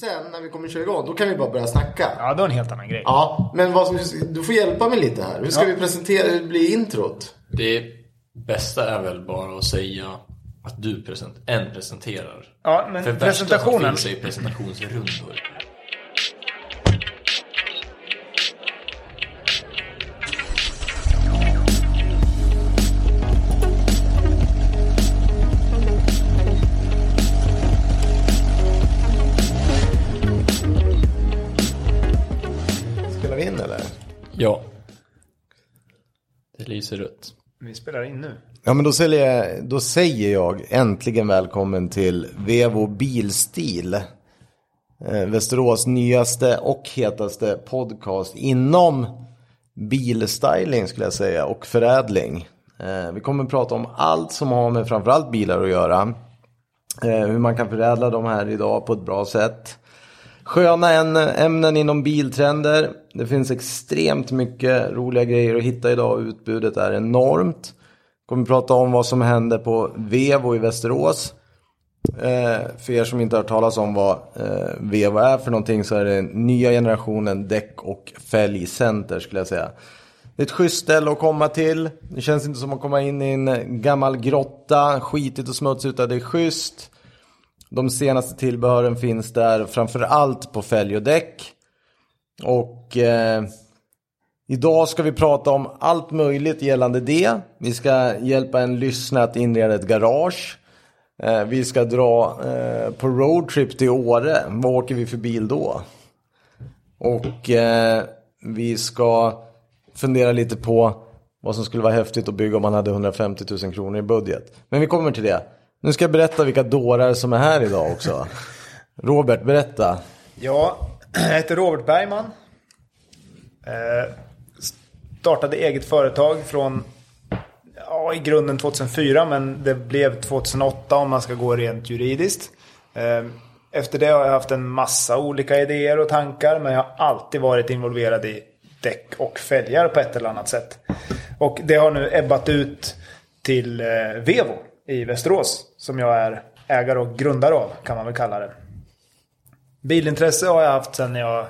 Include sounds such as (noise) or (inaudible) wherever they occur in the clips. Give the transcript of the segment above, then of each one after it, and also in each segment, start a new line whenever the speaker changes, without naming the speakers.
sen när vi kommer köra igång, då kan vi bara börja snacka.
Ja, det var en helt annan grej.
Ja, men vad som, du får hjälpa mig lite här. Hur ska
Ja.
vi presentera, hur blir introt?
Det bästa är väl bara att säga att du present, en presenterar.
Ja, men
För värsta
presentationen-
som finns är ju presentationsrundor.
Spelar vi in eller?
Ja. Det lyser rött.
Vi spelar in nu.
Ja, men då säger, jag, då säger jag äntligen välkommen till Vevo Bilstil. Eh, Västerås nyaste och hetaste podcast inom bilstyling skulle jag säga och förädling. Eh, Vi kommer att prata om allt som har med framförallt bilar att göra. Eh, Hur man kan förädla de här idag på ett bra sätt. Sköna än- ämnen inom biltrender. Det finns extremt mycket roliga grejer att hitta idag. Utbudet är enormt. Kommer prata om vad som händer på Vevo i Västerås. Eh, för er som inte har hört talas om vad eh, Vevo är för någonting så är det nya generationen däck och fälgcenter skulle jag säga. Det är ett schysst ställe att komma till. Det känns inte som att komma in i en gammal grotta, skitigt och smutsigt, utan det är schysst. De senaste tillbehören finns där, framförallt på fälg och däck. Och eh, idag ska vi prata om allt möjligt gällande det. Vi ska hjälpa en lyssnare att inreda ett garage. Eh, vi ska dra eh, på roadtrip till Åre. Vad åker vi för bil då? Och eh, vi ska fundera lite på vad som skulle vara häftigt att bygga om man hade 150 000 kronor i budget. Men vi kommer till det. Nu ska jag berätta vilka dårar som är här idag (laughs) också. Robert, berätta.
Ja, (clears throat) jag heter Robert Bergman. Eh, startade eget företag från ja, i grunden 2004 men det blev 2008 om man ska gå rent juridiskt. Eh, efter det har jag haft en massa olika idéer och tankar men jag har alltid varit involverad i däck och fälgar på ett eller annat sätt. Och det har nu ebbat ut till eh, Vevo i Västerås som jag är ägare och grundare av kan man väl kalla det. Bilintresse har jag haft sedan jag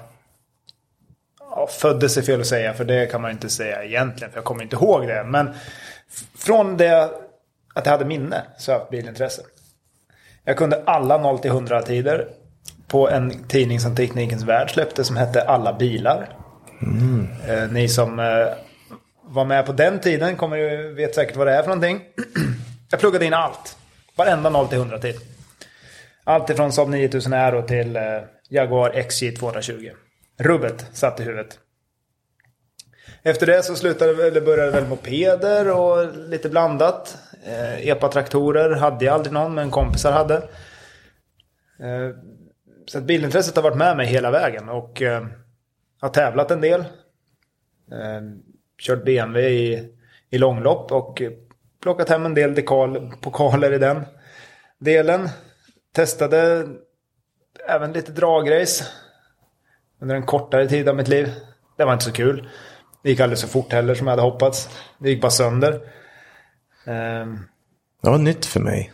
ja, föddes är fel att säga för det kan man ju inte säga egentligen för jag kommer inte ihåg det. Men f- från det att jag hade minne så har jag haft bilintresse. Jag kunde alla 0 till 100 tider på en tidning som Teknikens Värld släppte som hette Alla bilar. Eh, ni som eh, var med på den tiden kommer ju, vet säkert vad det är för någonting. (clears throat) jag pluggade in allt. Varenda 0 till 100 tid. Allt ifrån Saab 9000 Aero till eh, Jaguar XJ 220. Rubbet satt i huvudet. Efter det så slutade, eller började väl mopeder och lite blandat. Eh, Epa-traktorer hade jag aldrig någon, men kompisar hade. Eh, så att bilintresset har varit med mig hela vägen och eh, har tävlat en del. Eh, kört BMW i, i långlopp och eh, plockat hem en del dekal, pokaler i den delen. Testade även lite dragrace under en kortare tid av mitt liv. Det var inte så kul. Det gick aldrig så fort heller som jag hade hoppats. Det gick bara sönder. Ehm,
Det var nytt för mig.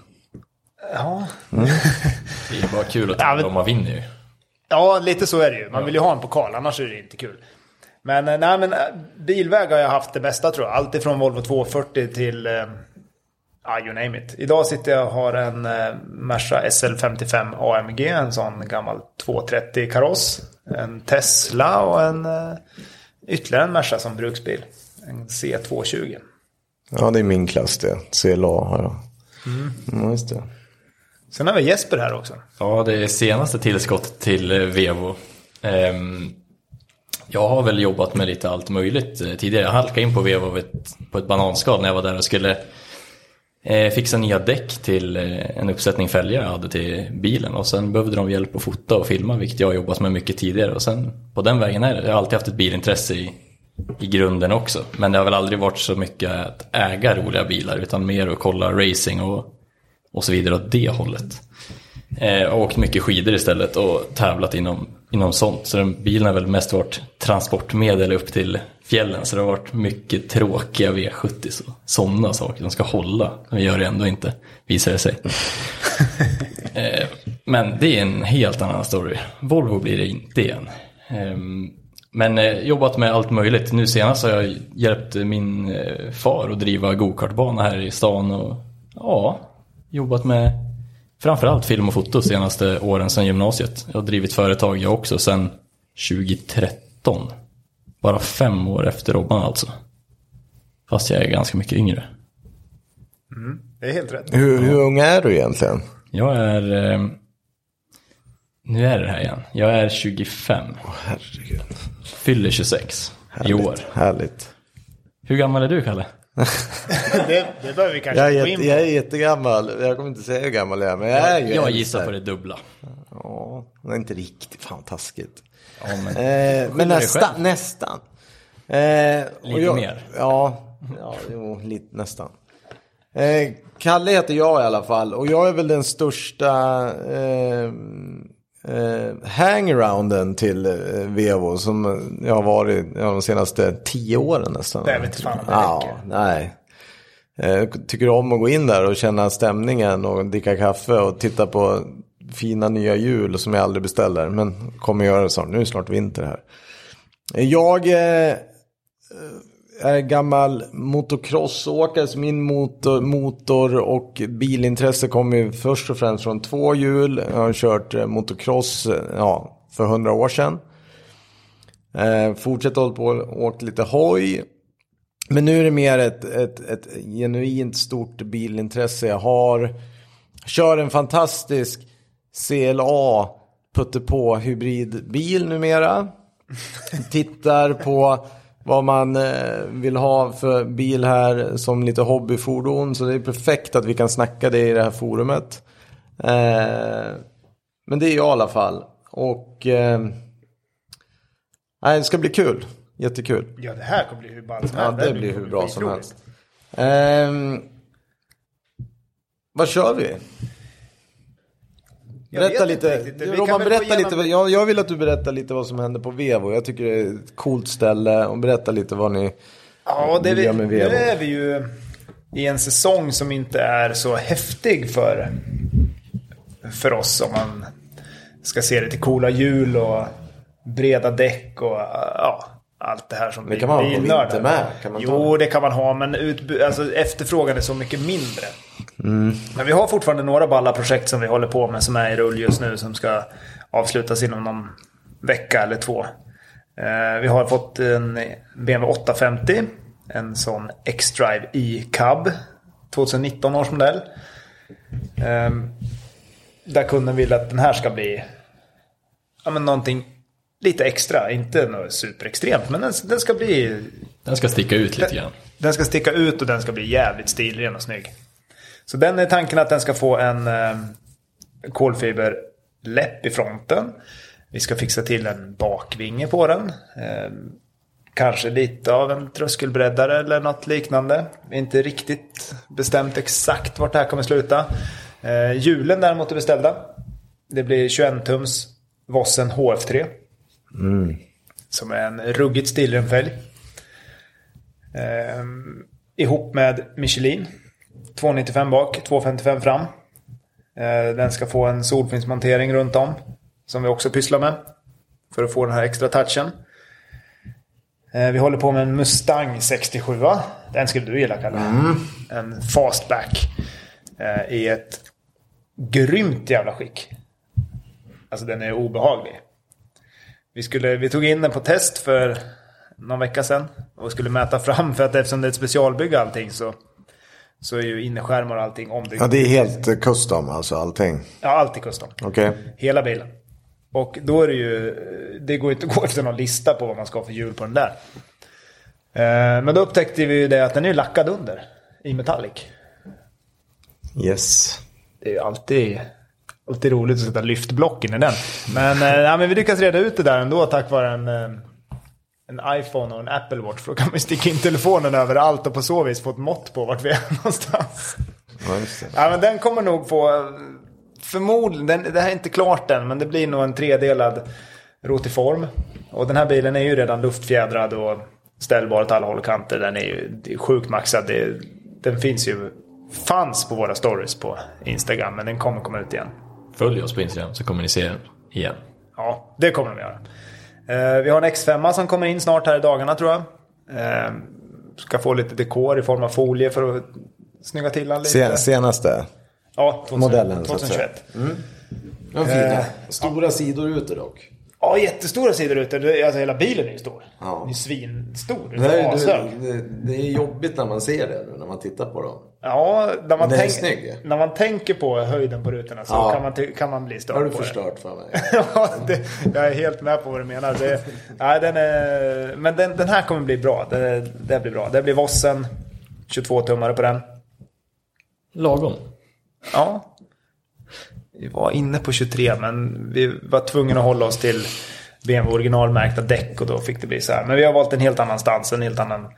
ja.
Det är bara kul att
Ja, men-
Bromma vinner ju.
ja, lite så är det ju. Man vill ju ha en pokal, annars är det inte kul. Men, eh, nej, men eh, bilväg har jag haft det bästa tror jag. Allt ifrån Volvo 240 till eh, Ja, you name it. Idag sitter jag och har en eh, Merca SL55 AMG, en sån gammal 230 kaross. En Tesla och en eh, ytterligare en Merca som bruksbil. En C220.
Ja, det är min klass det. CLA har jag. Mm, just det.
Sen har vi Jesper här också.
Ja, det är senaste tillskottet till eh, Vevo. Ehm, jag har väl jobbat med lite allt möjligt eh, tidigare. Jag halkade in på Vevo vid ett- på ett bananskal när jag var där och skulle eh, fixa nya däck till eh, en uppsättning fälgar jag hade till bilen. Och sen behövde de hjälp att fota och filma, vilket jag har jobbat med mycket tidigare. Och sen på den vägen är det. Jag har alltid haft ett bilintresse i, i grunden också. Men det har väl aldrig varit så mycket att äga roliga bilar, utan mer att kolla racing och, och så vidare åt det hållet. Eh, och åkt mycket skidor istället och tävlat inom, inom sånt. Så den, bilen har väl mest varit transportmedel upp till fjällen. Så det har varit mycket tråkiga V70 och sådana saker. De ska hålla, men gör det ändå inte, visar det sig. eh, Men det är en helt annan story. Volvo blir det inte igen. Ehm, Men eh, jobbat med allt möjligt. Nu senast har jag hjälpt min eh, far att driva gokartbana här i stan. Och, ja, jobbat med framförallt film och foto senaste åren sedan gymnasiet. Jag har drivit företag jag också sedan 2013. Bara fem år efter Robban alltså. Fast jag är ganska mycket yngre.
Det är helt rätt.
Hur, hur ung är du egentligen?
Jag är... eh, Nu är det här igen. Jag är 25.
Herregud.
Fyller 26 i år.
Härligt. Härligt.
Hur gammal är du Kalle?
(laughs) Det, det behöver vi kanske
Jag är,
inte gå in
jätte,
på.
jag är jättegammal. Jag kommer inte säga hur gammal jag är. Men jag är ju
Jag
äldst
gissar
här.
på det dubbla.
Ja, men inte riktigt. Fan vad taskigt.
Ja, men
Eh, men
dig
nästan.
själv.
nästan. Eh, och
Lite mer.
Ja, ja jo, lite, nästan. Eh, Kalle heter jag i alla fall. Och jag är väl den största eh, eh, hangarounden till eh, Vevo. Som eh, jag har varit ja, de senaste tio åren nästan.
Det vet fan om det
Ja,
räcker.
nej. Eh, Tycker om att gå in där och känna stämningen och dricka kaffe och titta på fina nya hjul som jag aldrig beställer. Men kommer göra det snart. Nu är det snart vinter här. Jag eh, är gammal motocrossåkare. Så min motor, motor och bilintresse kommer ju först och främst från två hjul. Jag har kört eh, motocross eh, ja, för hundra år sedan. Eh, fortsatt hållit på och åkt lite hoj. Men nu är det mer ett, ett, ett genuint stort bilintresse jag har. Kör en fantastisk CLA på hybridbil numera. Tittar på vad man eh, vill ha för bil här som lite hobbyfordon. Så det är perfekt att vi kan snacka det i det här forumet. Eh, men det är jag i alla fall. Och eh, nej, det ska bli kul. Jättekul.
Ja, det här kommer bli hur ballt som
Ja,
helst.
det
här
blir hur bra som
skitroligt.
helst. Ehm, vad kör vi?
Jag
Berätta
vet inte
lite.
riktigt. Vi kan
Roman,
väl gå
berätta
igenom-
lite. Jag, jag vill att du berättar lite vad som händer på Vevo. Jag tycker det är ett coolt ställe. Och berätta lite vad ni...
Ja, det är
Vi
vi,
gör med
nu
Vevo.
är vi ju i en säsong som inte är så häftig för, för oss om man ska se det till coola hjul och breda däck och ja, allt det här som
Det kan man ha på
bilnördar-
vinter med, kan man ta
jo, det kan man ha, men utbu- alltså, efterfrågan är så mycket mindre.
Mm.
Men vi har fortfarande några balla projekt som vi håller på med som är i rull just nu som ska avslutas inom någon vecka eller två. Eh, Vi har fått en BMW 850, en sån X-Drive E-Cub, 2019 års modell. Eh, Där kunden vill att den här ska bli ja, men någonting lite extra, inte något superextremt, men den, den ska bli
Den ska sticka ut lite grann.
den ska sticka ut och den ska bli jävligt stilren och snygg. Så den är tanken att den ska få en eh, kolfiberläpp i fronten. Vi ska fixa till en bakvinge på den. Eh, kanske lite av en tröskelbreddare eller något liknande. Vi är inte riktigt bestämt exakt vart det här kommer sluta. Eh, hjulen däremot är beställda. Det blir 21-tums Vossen HF3. Som är en ruggigt stilren fälg. Eh, ihop med Michelin. 295 bak, 255 fram. Eh, den ska få en solfinsmontering runt om. Som vi också pysslar med. För att få den här extra touchen. Eh, vi håller på med en Mustang 67. Den skulle du gilla Kalle.
Mm.
En fastback. Eh, I ett grymt jävla skick. Alltså den är obehaglig. Vi, skulle, vi tog in den på test för någon vecka sedan och skulle mäta fram för att eftersom det är ett specialbygge allting så, så är ju innerskärmar och allting ombyggt.
Ja,
Ja,
det är helt eh, custom alltså allting.
allt är custom.
Okej.
Hela bilen. Och då är det ju, det går ju inte att gå efter någon lista på vad man ska ha för hjul på den där. Eh, Men då upptäckte vi ju det att den är ju lackad under i metallic.
Yes.
Det är ju alltid, alltid roligt att sätta lyftblocken i den. Men, eh, ja, men vi lyckas reda ut det där ändå tack vare en, eh, en iPhone och en Apple Watch. För då kan man ju sticka in telefonen överallt och på så vis få ett mått på vart vi är (laughs) någonstans.
Ja, just det.
Ja, men den kommer nog få... Förmodligen, den, det här är inte klart än, men det blir nog en tredelad rotiform. Och den här bilen är ju redan luftfjädrad och ställbar åt alla håll och kanter. Den är ju det är sjukt maxad. Det, den finns ju, fanns på våra stories på Instagram, men den kommer komma ut igen.
Följ oss på Instagram så kommer ni se igen.
Ja, det kommer vi göra. Eh, Vi har en X5 som kommer in snart här i dagarna tror jag. Eh, Ska få lite dekor i form av folie för att snygga till den lite.
Se, senaste.
ja, 2000,
modellen, så att säga.
2021.
De fina. Stora sidor ute dock.
Ja, jättestora sidor ute. Det- Alltså hela bilen är ju stor.
Ja.
Den är svinstor. Den
Det,
är
är,
ashög.
det, det, det är jobbigt när man ser det nu, när man tittar på dem.
Ja, när man,
Den är
tänk,
snygg, ja.
när man tänker på höjden på rutorna så
Ja.
kan, man, ty- kan man bli störd
Har du
på det.
förstört för mig?
(laughs) ja, det, jag är helt med på vad du menar. Det, nej, den är, men den, den här kommer bli bra. Det, det blir bra. Det blir Vossen. 22-tummare på den.
Lagom.
Ja. Vi var inne på 23 men vi var tvungna att hålla oss till BMW originalmärkta däck och då fick det bli så här. Men vi har valt en helt annan stans, en helt annan,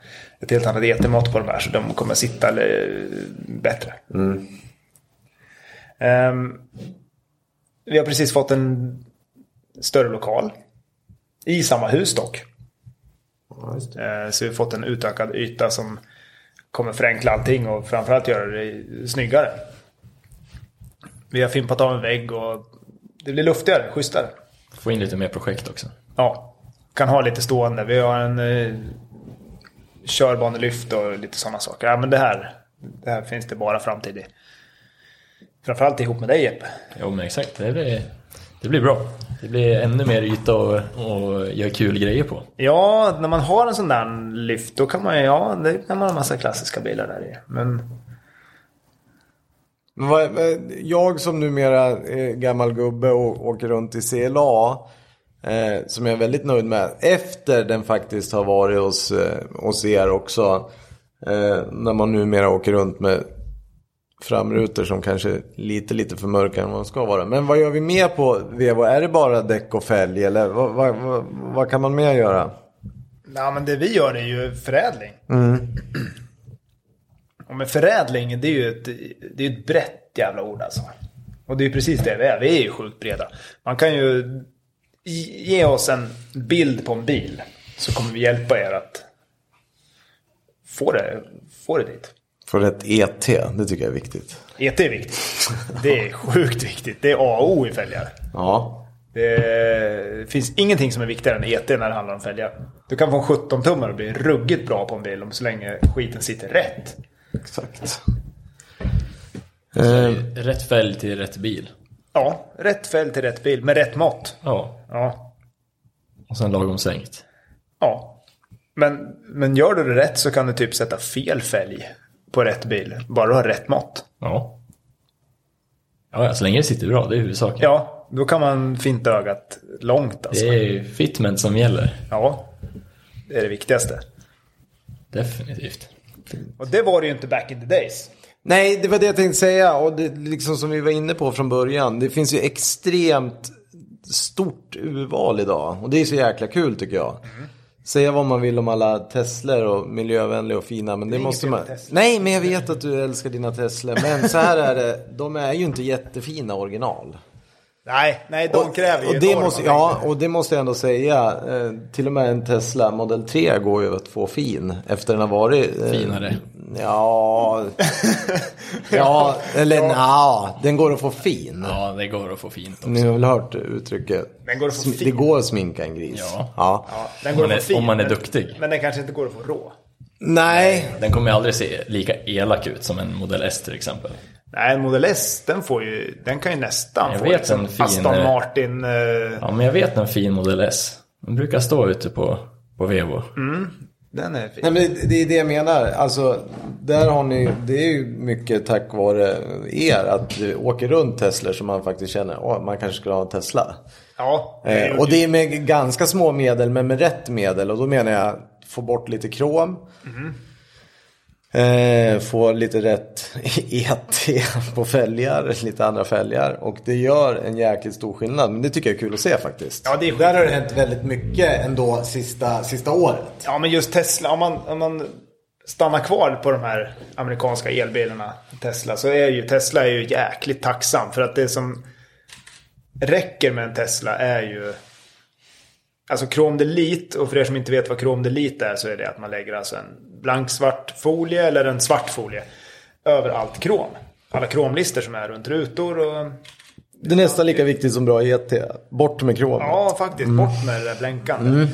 ett helt annat etermått på de här så de kommer sitta eh, bättre. Ehm, vi har precis fått en större lokal. I samma hus dock.
Ja, just det.
Eh, Så vi har fått en utökad yta som kommer förenkla allting och framförallt göra det snyggare. Vi har fimpat av en vägg och det blir luftigare, schysstare.
Få in lite mer projekt också.
Ja, kan ha lite stående. Vi har en eh, körbanelyft och lite sådana saker. Ja, men det här, det här finns det bara framtid i. Framförallt ihop med dig Jeppe.
Jo men exakt, det blir, det blir bra. Det blir ännu mer yta och, och göra kul grejer på.
Ja, när man har en sån där lyft då kan man ju, ja, det kan man ha en massa klassiska bilar där i. Men
Men vad- vad- Jag som numera är gammal gubbe och åker runt i CLA. Eh, som jag är väldigt nöjd med. Efter den faktiskt har varit hos, eh, hos er också. Eh, när man numera åker runt med framrutor som kanske är lite, lite för mörka än vad de ska vara. Men vad gör vi mer på Vevo? Är det bara däck och fälg? Eller vad, vad, vad, vad kan man mer göra?
Ja, men det vi gör är ju förädling.
Mm.
Och med förädling, det är ju ett, det är ett brett jävla ord alltså. Och det är ju precis det vi är. Vi är ju sjukt breda. Man kan ju ge oss en bild på en bil så kommer vi hjälpa er att få det, få det dit.
För ett ET, det tycker jag är viktigt.
ET är viktigt. Det är sjukt viktigt. Det är A och O i fälgar.
Ja.
Det finns ingenting som är viktigare än ET när det handlar om fälgar. Du kan få en 17-tummare och bli ruggigt bra på en bil om så länge skiten sitter rätt.
Exakt.
Så
Eh,
Rätt fälg till rätt bil.
Ja, rätt fälg till rätt bil med rätt mått.
Ja,
Ja.
och sen lagom sänkt.
ja. Men, men gör du det rätt så kan du typ sätta fel fälg på rätt bil. Bara du har rätt mått.
Ja. Ja, så länge det sitter bra, det är huvudsaken.
Ja, då kan man finta ögat långt alltså.
Det är ju fitment som gäller,
Ja, det är det viktigaste.
definitivt.
Och det var det ju inte back in the days.
Nej, det var det jag tänkte säga. Och det, liksom som vi var inne på från början. Det finns ju extremt stort urval idag. Och det är så jäkla kul tycker jag. Säga vad man vill om alla Teslor och miljövänliga och fina. Men det,
är
måste
inget
man...
fel med Tesla.
Nej, men jag vet att du älskar dina Teslor. Men så här är det. De är ju inte jättefina original.
Nej, nej, de kräver ju
och det
enorma
måste,
mängder. (laughs)
Ja, och det måste jag ändå säga. Eh, till och med en Tesla Model 3 går ju att få fin. Efter den har varit... Eh,
Finare.
Ja, (laughs) ja eller ja. den går att få fin.
Ja, det går att få fint också.
Ni har väl hört uttrycket?
Den går att få
Sm- Det
fin.
går att sminka en gris.
Ja.
Ja,
Om
den går
man
att
är-
få fin,
om man är
men-
duktig.
Men den kanske inte går att få rå.
Nej,
Den kommer ju aldrig se lika elak ut som en Model S till exempel.
Nej, en Model S, den, får ju, den kan ju nästan
Jag
få
vet
liksom
en fin-
Aston Martin. eh,
Ja, men jag vet en fin Model S. Den brukar stå ute på, på Vevo.
Mm. Den är fin.
Nej, men det- det är det jag menar. Alltså, där har ni, det är ju mycket tack vare er att du åker runt Teslor som man faktiskt känner, åh, man kanske skulle ha en Tesla.
Ja,
Eh, och det är med ganska små medel men med rätt medel. Och då menar jag få bort lite krom. Eh, få lite rätt (laughs) ET på fälgar, lite andra fälgar. Och det gör en jäkligt stor skillnad. Men det tycker jag är kul att se faktiskt.
Ja, det är
Där har det hänt väldigt mycket ändå sista, sista året.
ja, men just Tesla, om man, om man stannar kvar på de här amerikanska elbilarna, Tesla, så är ju Tesla är ju jäkligt tacksam. För att det som räcker med en Tesla är ju Alltså kromdelit, och för er som inte vet vad kromdelit är så är det att man lägger alltså en blank svart folie eller en svart folie över allt krom. Alla kromlister som är runt rutor och
Det är nästan lika viktigt som bra GT. Bort med kromet.
Ja, faktiskt.
Mm.
Bort med det där blänkandet.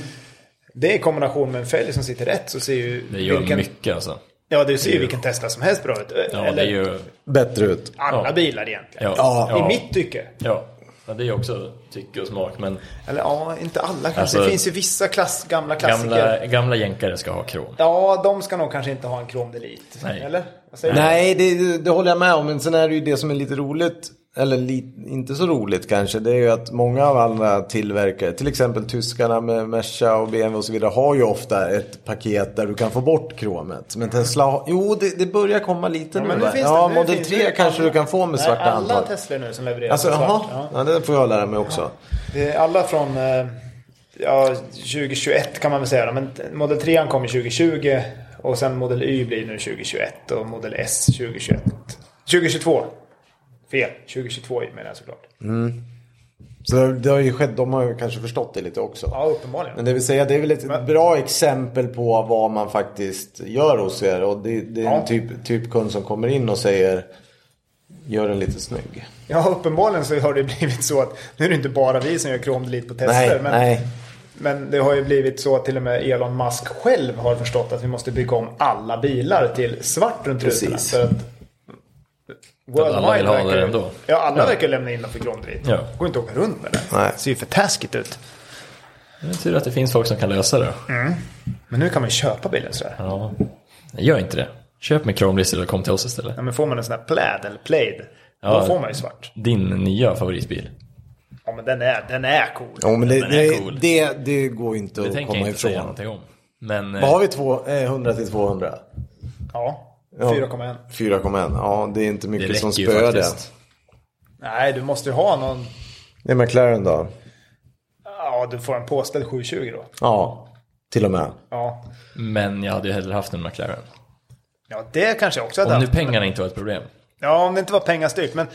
Det i kombination med en fälg som sitter rätt så ser ju...
Det gör
vilken,
mycket alltså.
Ja, det ser ju vilken Tesla som helst bra ut.
Ja, det
Eller
är ju...
Bättre ut.
alla
ja.
bilar egentligen.
Ja,
Ja.
I mitt tycke.
Ja. ja, det är ju också tycke och smak. Men
Eller ja, inte alla kanske.
Alltså-
det finns ju vissa klass, gamla klassiker.
gamla, gamla jänkare ska ha krom.
Ja, de ska nog kanske inte ha en Chrome Delete.
Nej.
Eller? Vad säger du?
Nej, det, det håller jag med om. Men sen är det ju det som är lite roligt. Eller li, inte så roligt kanske. Det är ju att många av alla tillverkare. Till exempel tyskarna med Merca och BMW och så vidare. Har ju ofta ett paket där du kan få bort kromet. Men Tesla har... Jo, det, det börjar komma lite
Ja,
nu.
men nu
va?
finns det-
ja,
nu
Model
finns
3
det-
kanske du kan få med
Nej,
svarta
alla
handtag.
Teslor nu som levererar
Alltså,
med svart.
jaha.
Ja.
Ja, det får jag lära mig också.
Det är alla från eh, ja, 2021 kan man väl säga. Men Model 3 kom ju 2020 och sen Model Y blir nu 2021 och Model S 2021. 2022. Fel, 2022 menar jag såklart.
Så det, det har ju skett. De har ju kanske förstått det lite också.
Ja, uppenbarligen.
Men det vill säga, det är väl ett bra exempel på vad man faktiskt gör hos er. Och det, det är en
Ja.
typ, typ kund som kommer in och säger Gör den lite snygg.
Ja, uppenbarligen så har det (laughs) blivit så att nu är det inte bara vi som gör Chrome Delete på tester.
nej,
men,
nej.
men det har ju blivit så att till och med Elon Musk själv har förstått att vi måste bygga om alla bilar till svart runt rutorna.
Precis.
För att
att alla vill ha
verkar-
det ändå.
Ja, alla verkar lämna in dem för Chrome Delete.
Ja.
Går inte att åka runt med det.
Nej.
Det ser ju för taskigt ut.
Det är tur att det finns folk som kan lösa det.
Mm. Men nu kan man ju köpa bilen sådär.
Ja. Nej, Gör inte det. Köp med kromlistor och kom till oss istället.
Ja, men får man en sån här pläd eller plaid, då
Ja.
får man ju svart.
Din nya favoritbil.
Ja, men den är, den är cool.
Jo, men det,
Den är
det,
cool.
det, det går ju inte
Det
att
tänker
komma
jag inte säga
ifrån.
någonting om. Men eh,
Vad har vi? Två, eh, 100 till 200?
Ja,
Ja.
4,1.
4,1 Ja, det är inte
det
mycket som
räcker ju
spöar det.
faktiskt.
Nej, du måste ju ha någon...
Det är McLaren då?
Ja, du får en påställd 720 då.
Ja, till och med.
Ja,
Men jag hade ju hellre haft en McLaren.
ja det kanske jag också hade
Om nu
haft.
pengarna inte var ett problem.
Ja, om det inte var pengastyrt, men...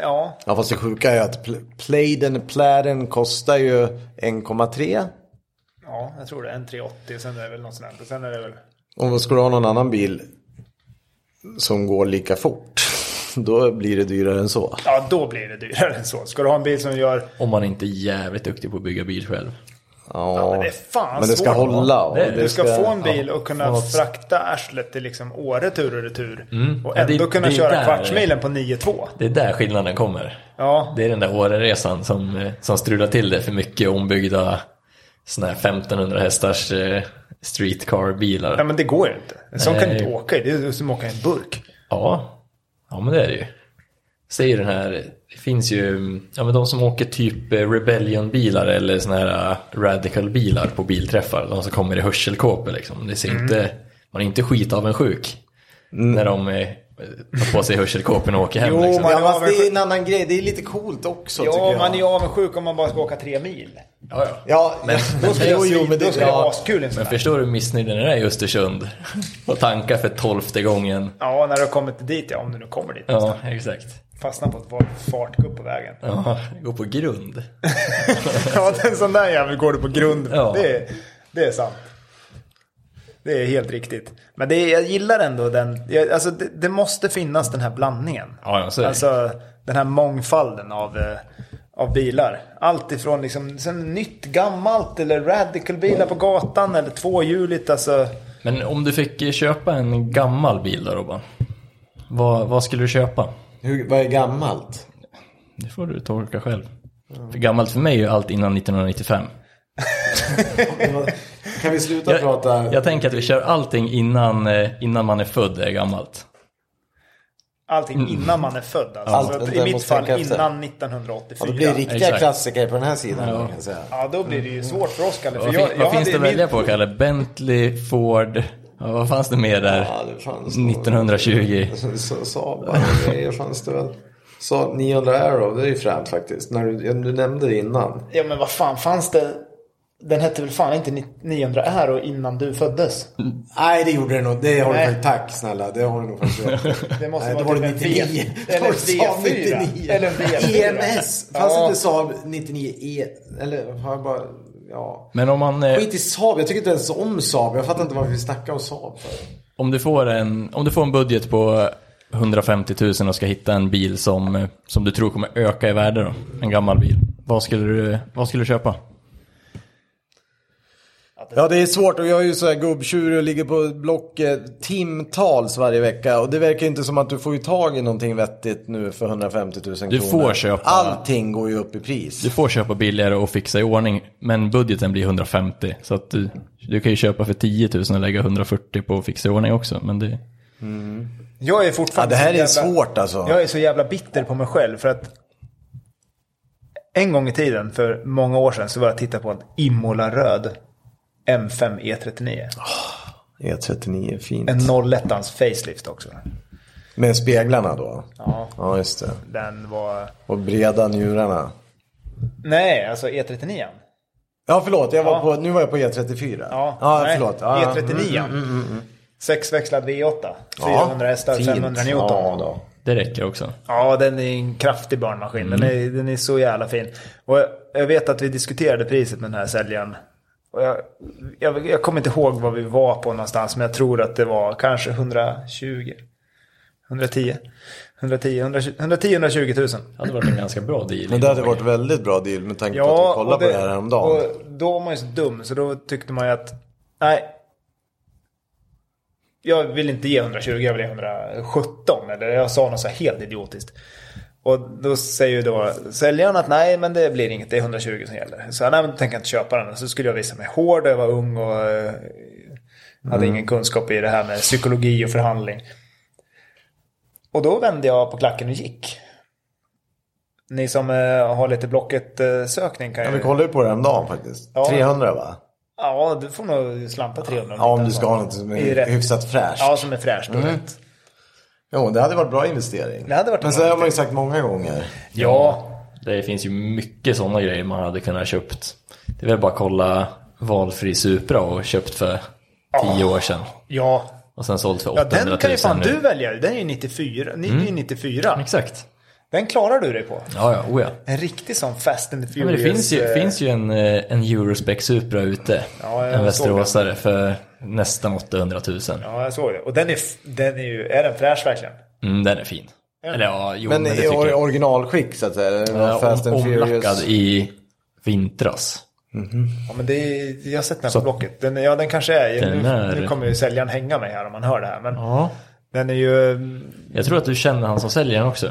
Ja,
Ja, fast det sjuka är ju att pl- Pladen, pläden kostar ju 1,3.
ja, jag tror det. En 380 och sen är det väl något sånt där. Och Sen är det väl...
Om vi skulle ha någon annan bil som går lika fort, (laughs) då blir det dyrare än så.
Ja, då blir det dyrare än så. Ska du ha en bil som gör...
Om man inte är jävligt duktig på att bygga bil själv.
Ja,
men det är fan
Men det ska
svårt, va?
hålla. och
Det är-
det
Du ska få en bil
ja,
och kunna
något-
frakta arslet till liksom Åre tur och retur. Och
Mm. Ja, det-
ändå kunna
det är
köra
där-
kvartsmilen på 9,2.
Det är där skillnaden kommer.
Ja.
Det är den där Åreresan som, eh, som strular till det för mycket ombyggda såna här 1500 hästars eh, streetcar-bilar.
Nej men det går ju inte. En sån kan
Nej.
inte åka i. Det är som att åka i en burk.
Ja, ja men det är det ju. Säger den här, det finns ju, ja men de som åker typ eh, Rebellion-bilar eller såna här eh, Radical-bilar på bilträffar, de som kommer i hörselkåpor liksom. Det ser
Mm.
inte, man är inte skit av en sjuk när de eh, tar på sig hörselkåporna och åker hem
Jo,
liksom.
man-
Ja, fast det är en annan grej. Det är lite coolt också tycker
Ja,
jag.
man är ju avundsjuk om man bara ska åka tre mil.
Ja, ja.
Ja, men,
Då skulle
jo, jo, men det,
då skulle det vara
ja,
askul i en sån
Men
här.
förstår du hur missnöjd den är i Östersund? (laughs) Och tankar för tolfte gången.
Ja, när du har kommit dit, ja, om du nu kommer dit.
Ja, exakt.
Fastna på ett var- fartgupp på vägen. (laughs)
Ja, gå på grund.
Ja, den sån där jävel går du på grund med.
Ja.
Det, är, det är sant. Det är helt riktigt. Men det är, jag gillar ändå den. jag- Alltså, det, det måste finnas den här blandningen.
Ja, ja, så är det.
Alltså den här mångfalden av, eh, av bilar. Allt ifrån liksom, sen nytt, gammalt eller radicalbilar på gatan eller tvåhjuligt. Alltså,
Men om du fick eh, köpa en gammal bil då Robban? Vad, vad skulle du köpa?
hur, vad är gammalt?
Det får du tolka själv. För gammalt för mig är ju allt innan 1995.
Kan vi sluta
Jag,
prata?
jag tänker att vi kör allting innan, eh, innan man är född är gammalt.
allting
Mm.
innan man är född. Alltså.
Allt,
Så att I
den
mitt
måste
fall
tänka efter.
innan 1984.
ja, det blir riktiga
Exakt.
klassiker på den här sidan. Kan jag säga.
Ja, då blir det ju svårt för oss Kalle. För
Mm. Vad,
jag,
fin,
jag
vad
hade
finns det
ju
att
min-
välja på Kalle? Bentley, Ford, ja, vad fanns det mer där?
Ja, det fanns
1920.
Så- Saab och grejer fanns det väl. Saab 900 Aero, det är ju fränt faktiskt. När du, ja, du nämnde det innan.
Ja men vad fan fanns det? Den hette väl fan inte ni- 900 Aero innan du föddes?
Nej, det gjorde det nog. Det har
Nej.
du faktiskt. Tack snälla, det har du nog faktiskt gjort.
Det måste
Nej, då
vara
var
typ
(laughs) det
en V-
99.
(laughs)
Eller en
Då sa vi
V4. Eller en
E
V4.
EMS.
Ja.
Fanns inte Saab 99 E? Eller har jag bara... Ja.
Men om, man, eh,
Skit i Saab. Jag tycker inte ens om Saab. Jag fattar inte varför vi snackar om Saab. för.
om, du får en, om du får en budget på 150 000 och ska hitta en bil som, eh, som du tror kommer öka i värde då. En gammal bil. Vad skulle du, vad skulle du köpa?
Ja det är svårt och jag är ju så här gubbtjurig och ligger på blocket timtals varje vecka. Och det verkar inte som att du får ju tag i någonting vettigt nu för 150 000 kronor.
Du får köpa-
Allting går ju upp i pris.
Du får köpa billigare och fixa i ordning, men budgeten blir 150. Så att du, du kan ju köpa för 10 000 och lägga 140 på att fixa i ordning också. Men det,
Jag är
Ja,
fortfarande
det här är
så jävla,
svårt alltså.
Jag är så jävla bitter på mig själv för att en gång i tiden, för många år sedan, så var jag och tittade på en Imola röd M5 E39.
E39, E fint.
En 01 facelift också.
Med speglarna då?
Ja,
Ja just det.
den var...
Och breda njurarna.
Nej, alltså E39.
Ja förlåt, jag var
Ja.
på, nu var jag på E34.
Ja,
ja
nej,
förlåt. Ja, Mm, ja.
E39. Sexväxlad V8.
Ja,
400 hästar,
fint.
500 Newton.
Ja, då.
det räcker också.
Ja, den är en kraftig barnmaskin. Den,
Mm.
är, den är så jävla fin. Och jag, jag vet att vi diskuterade priset med den här säljaren. Och jag, jag, jag kommer inte ihåg vad vi var på någonstans, men jag tror att det var kanske 120. 110. 110, 120, 110 120 000.
Det hade varit en ganska bra deal.
Men det hade varit väldigt bra deal med tanke på att vi kollade
och
på det här häromdagen.
Och då var man ju så dum, så då tyckte man ju att nej. Jag vill inte ge 120, jag vill ge 117. Eller jag sa något så här helt idiotiskt. Och då säger ju då säljaren att nej, men det blir inget, det är 120 som gäller. Så jag, nej, men då tänker jag inte köpa den. Så skulle jag visa mig hård, jag var ung och eh,
Mm.
hade ingen kunskap i det här med psykologi och förhandling. Och då vände jag på klacken och gick. Ni som eh, har lite Blocket-sökning kan
Ja,
ju...
vi kollade ju på det häromdagen faktiskt.
Ja.
300 va?
Ja, du får nog slanta 300.
Ja, om du ska ha något som
I
är
rätt-
hyfsat fräscht.
alltså.
Mm.
Ja, som är fräscht
Mm.
och rätt.
Jo, det hade varit bra investering.
Det hade varit en
Men
bra
så har man ju sagt många gånger.
Ja,
Det finns ju mycket sådana grejer man hade kunnat köpt. Det är väl bara att kolla valfri Supra och köpt för 10 år sedan.
ja.
Och sen sålt för
Ja,
800 000
den kan ju fan
nu. Mm.
du välja. Den är ju 94. Ni är ju 94.
Exakt.
Den klarar du dig på.
Ja, ja, oh ja.
En riktig sån Fast and the
Ja, Men
Furious.
det finns ju,
eh,
finns ju en, eh, en Eurospec Supra ute.
Ja, jag
en
såg
västeråsare för nästan 800 000.
Ja, jag såg det. Och den är, f- den är ju... Är den fräsch verkligen?
Mm, den är fin. Eller ja, jo, men,
Men
det
i
tycker
or-
jag.
originalskick så att säga. Det var
Ja,
Fast
om-
and
Omlackad
Furious.
i vintras.
Ja, men det är, jag har sett den här på Blocket. Den, ja, den kanske är...
Den
nu,
är-
nu kommer ju säljaren hänga mig här om man hör det här. Men
Ja.
den är ju...
Jag tror att du känner han som säljer den också.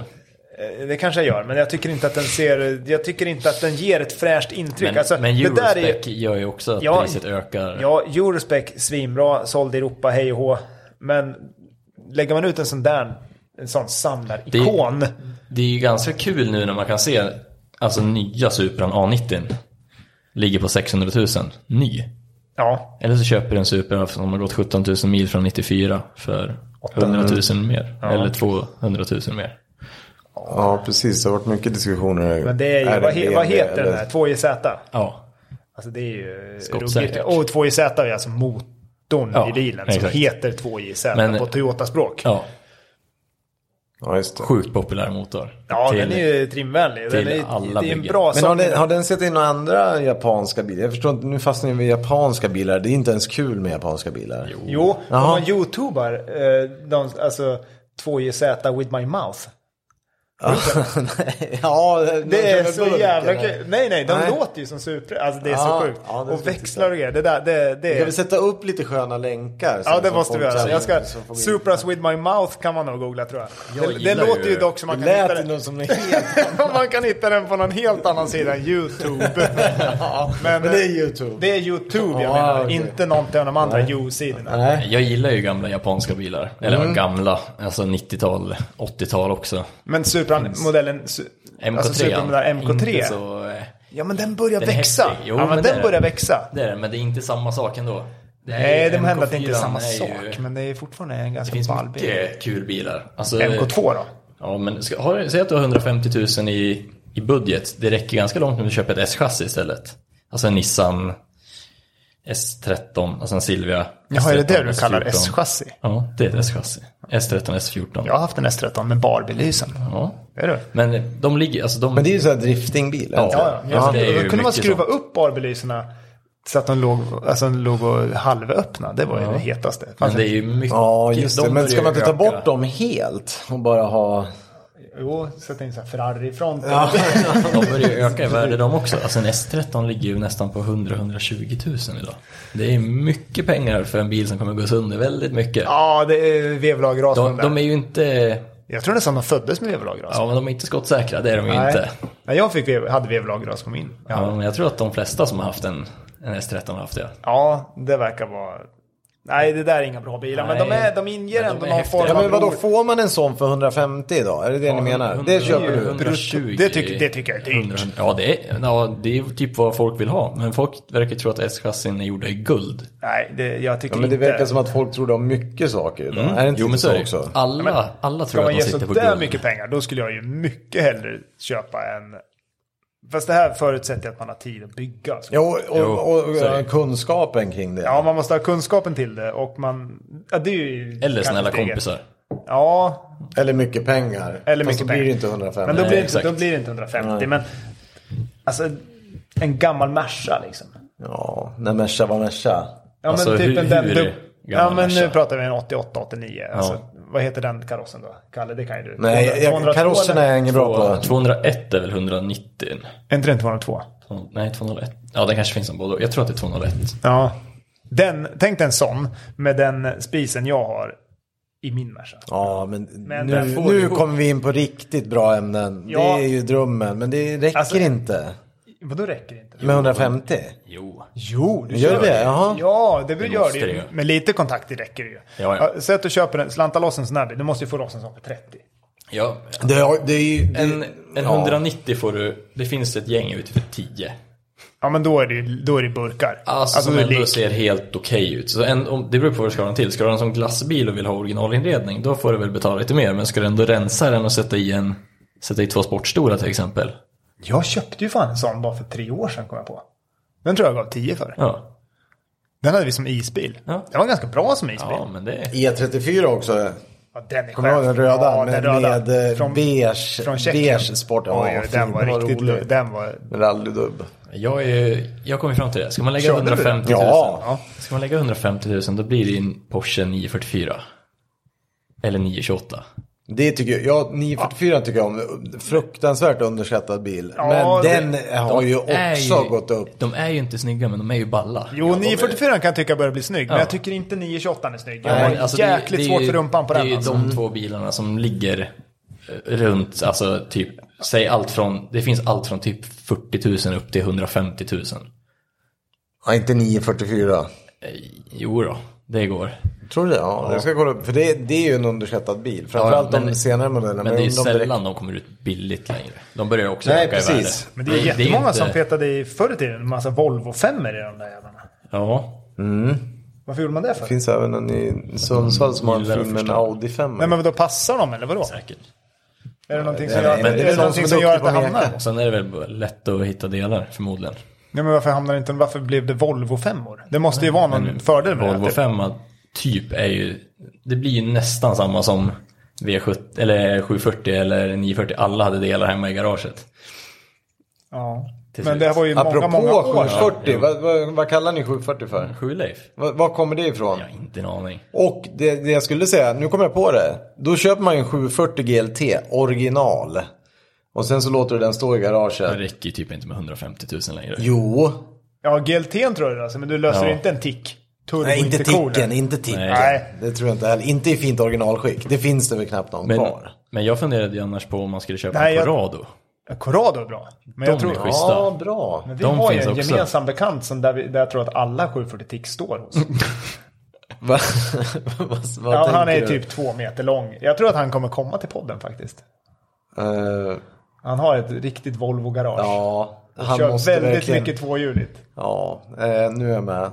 eh, Det kanske jag gör, men jag tycker inte att den ser... Jag tycker inte att den ger ett fräscht intryck.
Men,
alltså,
men
det där är ju-
Eurospec gör ju också att
Ja,
priset ökar.
Ja, Eurospec, svinbra, såld i Europa, hej och hå. Men lägger man ut en sån där, en sån samlarikon.
Det är ju ganska kul nu när man kan se alltså nya Supran A90. Ligger på 600 000. Ny.
Ja,
Eller så köper du en Supra som har gått 17 000 mil från 94 för 100 000 mer. Eller 200 000 mer.
Ja, precis. Det har varit mycket diskussioner.
men det är ju, vad, he, vad heter den där? 2JZ?
Ja.
Alltså det är ju
Skottsäkert.
ruggigt. Och 2JZ är alltså motorn
Ja,
i bilen som
exakt.
heter 2JZ
Men-
på Toyota-språk.
ja.
Ja, just det.
Sjukt populär motor.
Ja,
Till-
den är ju trimvänlig. Den
till
är,
alla
det är en
byggen.
bra
Men har
sak.
den, har den sett in några andra japanska bilar? Jag förstår inte, nu fastnar vi vid japanska bilar. Det är inte ens kul med japanska bilar.
Jo, om
Jaha.
man youtubar, eh, de, alltså 2JZ with my mouth.
Ja, (laughs) nej. ja,
Det är så
burken.
jävla kul. Nej, nej, de
Nej.
låter ju som Supra. Alltså det är
Ja,
så sjukt.
ja, det är
och
så
växlar och grejer. Det där, det,
Ska
det
vi
är...
sätta upp lite sköna länkar? sen
Ja, det
som
måste vi
folk
göra.
sen-
Jag ska...
som får gå in?
Supras with my mouth kan man nog googla tror jag.
Jag
det det
gillar
låter ju
ju-
dock som man
Det
kan hitta
lät
den.
nog som
(laughs)
en helt...
man kan hitta den på någon helt annan sida än YouTube.
(laughs) Men det är YouTube.
Det är YouTube jag
Ja,
menar.
okej.
Inte någonting av de andra you-sidorna.
Nej.
Jag gillar ju gamla japanska bilar. Eller
Mm.
gamla, alltså 90-tal, 80-tal också.
Men Supran, modellen... Su-
MK3.
Alltså Supra
Inte
MK3.
så, eh,
Ja, men den börjar
Den är
växa.
häftig. Jo,
ja, men,
men det är
den
den.
börjar växa.
det är det, men det är inte samma sak ändå. Det är-
Nej, det må hända att det
MK4
inte är samma
är ju-
sak. Men det är fortfarande en
Det
ganska
finns
ball bil.
mycket kul bilar. Alltså,
MK2 då?
Ja, men ska, har, säg att du har 150 000 i, i budget. Det räcker ganska långt om du köper ett S-chassi istället. Alltså en Nissan S13, alltså en Silvia.
Jaha, är det det du
S13,
kallar
S14.
S-chassi?
Ja, det är ett S-chassi. S13, S14.
Jag har haft en S13 med barbelysen.
Ja.
Är du?
Men de ligger, alltså de...
Men det är ju så här driftingbil.
Ja.
alltså.
Ja, ja.
Ja, det är ju
Då kunde man
mycket
skruva
sånt.
upp barbelyserna Så att de låg, alltså, de låg och halvöppna. Det var ju det hetaste. Alltså,
Men Alltså, det är ju mycket.
Ja, just det.
de
Men ska man inte ta
börjar ju
bort dem helt och bara ha...
Jo, sätta in så här Ferrari-front.
öka. De börjar ju öka i värde de också. Alltså en S13 ligger ju nästan på 100-120 000 idag. Det är mycket pengar för en bil som kommer gå sönder väldigt mycket.
(laughs) Ja, det är vevlag
De,
Rasman
de är ju inte
Jag tror nästan de föddes med vevlag Rasman.
Ja, men de är inte skottsäkra, det är de ju inte.
Nej, jag fick, vev- hade vevlagras på min. Ja.
Ja, men jag tror att de flesta som har haft en, en S13 har haft det.
ja, det verkar vara... Nej, det där är inga bra bilar. Men de, är, de inger
Ja, de
ändå
är
någon form
häftiga.
av...
Ja, men vadå,
roligt.
får man en sån för 150 idag? Är det det ni menar? Det köper du?
120.
Det tycker- det tycker jag är dyrt.
100. Ja, det är, ja, det är typ vad folk vill ha. Men folk verkar tro att S-chassin är gjorda i guld.
Nej, det, jag tycker
Ja, men det
inte...
verkar som att folk tror de har mycket saker idag.
Mm.
Mm. Är det inte
jo, men så är det
så
ju.
också?
Alla, alla
Ska
tror att
man
de
ge
sitter på
sådär
guld.
mycket pengar, då skulle jag ju mycket hellre köpa en... Fast det här förutsätter att man har tid att bygga. Så.
Jo, och,
Jo,
och, och eh,
så är det.
kunskapen kring det.
Ja, man måste ha kunskapen till det och man... Ja, det är ju...
Eller
kanske
snälla
steget.
kompisar.
Ja,
Eller mycket pengar.
Eller
Fast
mycket
då blir det
pengar.
inte 150.
Men då
Nej,
blir, det inte,
exakt.
då blir det inte 150.
Nej.
Men alltså en gammal Merca liksom.
Ja, när Merca var Merca.
Ja,
Alltså, hur-
den
hur
du-
gammal
Ja men nu
Merca?
pratar vi en 88-89. Alltså, Vad heter den karossen då? Kalle, det kan ju du.
Nej,
200- 202,
jag, karosserna är
eller?
jag ingen bra på.
201 är väl 190?
Är inte den 202?
Nej, 201. Ja, den kanske finns som både. Jag tror att det är 201.
Ja. Den, tänk dig en sån med den spisen jag har i min Merca.
Ja, men,
Men den
nu,
får
nu
ihop.
kommer vi in på riktigt bra ämnen.
Ja.
Det är ju drömmen, men det räcker
Alltså-
inte
Vadå räcker det inte?
med 150.
Jo.
Jo, du
Gör det? Jaha.
Ja, det, gör det
måste
ju.
det ju.
Men lite kontakt det räcker ju.
Ja, ja.
Säg att du köper en, slanta loss en sån här bil. Du måste ju få loss en sån för 30.
Ja,
Det, har- det är ju... Det,
en, en 190 får du. Det finns ett gäng ute för 10.
Ja, men då är det, ju- då är det burkar.
Alltså,
Alltså,
som
då är det
ändå
lik.
ser helt okej ut. Så en, om, det beror på vad du ska ha den till. Ska du ha den som glassbil och vill ha originalinredning, då får du väl betala lite mer. Men ska du ändå rensa den och sätta i, en, sätta i två sportstolar till exempel.
Jag köpte ju fan en sån bara för tre år sedan kom jag på. Den tror jag gav 10 för.
Ja,
Den hade vi som isbil.
Ja.
Den var ganska bra som isbil.
ja men det...
E34 också.
Ja, den är
Kommer du ihåg den röda? med, med eh,
Från-
beige,
från Tjeckien.
beige sport. Ja,
Oj, oj,
fin,
den var riktigt
rolig.
rolig. Den var...
Men rallydubb.
Jag, är, ju- jag kommer fram till det. Ska man lägga
Körde du den?
150 000?
Ja.
Ska man lägga 150 000 då blir det en Porsche 944. Eller 928.
Det tycker jag, ja, 944 tycker jag om. Fruktansvärt underskattad bil.
Ja,
men
det-
den har ju
Är
också gått upp.
De är ju inte snygga men de är ju balla.
Jo, 944 kan jag tycka börjar bli snygg. Men
Ja.
jag tycker inte 928 är snygg. Jag
Nej,
har
alltså det-
jäkligt
det är
svårt
ju-
för rumpan på
Det är
den.
ju
Alltså.
de två bilarna som ligger eh, runt, alltså typ, säg allt från, det finns allt från typ 40 000 upp till 150 000.
Ja, inte 944.
Eh, Jo då, det går.
Tror du det? Ja, jag ska kolla upp. För det, det är ju en underskattad bil. Framförallt
Ja, men-
de senare modellerna.
Men det är ju
de direkt-
sällan de kommer ut billigt längre. De börjar också
Nej,
öka i
precis.
värde.
Men det är jättemånga
inte-
som petade i förr i tiden en massa Volvo 5 i de där jävlarna.
Ja,
Varför gjorde man det för?
Det finns även en i Sundsvall som har en
Gillar att
film med en
förstå.
Audi 5.
Nej, men då passar de eller vadå?
säkert.
Är det någonting som
nej,
gör att-
men det
är
är
det
väl någon
någonting
som
som
är
gör att det
duktig på att
hamnar?
meka.
Och sen är det väl bara lätt att hitta delar förmodligen.
Nej, men varför hamnar inte varför blev det Volvo 5 år? Det måste ju vara någon fördel med
Volvo
det.
5 typ är ju, det blir ju nästan samma som V70, eller 740 eller 940. Alla hade delar hemma i garaget.
Ja.
Till
Men
slut.
det var ju många,
Apropå
många år.
740, vad, vad, vad kallar ni 740
Mm.
för?
Sjuleif?
Vad, vad kommer det ifrån?
Jag har inte en aning.
Och det, det jag skulle säga, nu kommer jag på det. Då köper man ju en 740 GLT, original. Och sen så låter du den stå i
Det
garaget.
räcker ju typ inte med 150 000 längre.
Jo.
Ja, GLT'n tror jag det alltså, men du löser
Ja.
inte en tick. Turbo
Nej, inte
intercooler.
ticken, inte ticken.
Nej.
Det tror jag inte heller. Inte i fint originalskick. Det finns det väl knappt någon
Men,
kvar.
men jag funderade ju annars på om man skulle köpa
Nej,
en
jag-
Corrado.
Ja, Corrado är bra. Men jag
De
tror...
är schyssta.
Ja, bra.
Men vi
De
har ju
finns
en
också.
gemensam bekant som där, vi, där jag tror att alla 740 tick står hos.
Va? (laughs) vad, vad
Ja, han
tänker
är ju
du?
typ två meter lång. Jag tror att han kommer komma till podden faktiskt.
Eh,
Han har ett riktigt Volvo-garage.
ja, han
Kör
måste
väldigt
verkligen...
mycket tvåhjuligt.
Ja, eh, nu är jag med. Och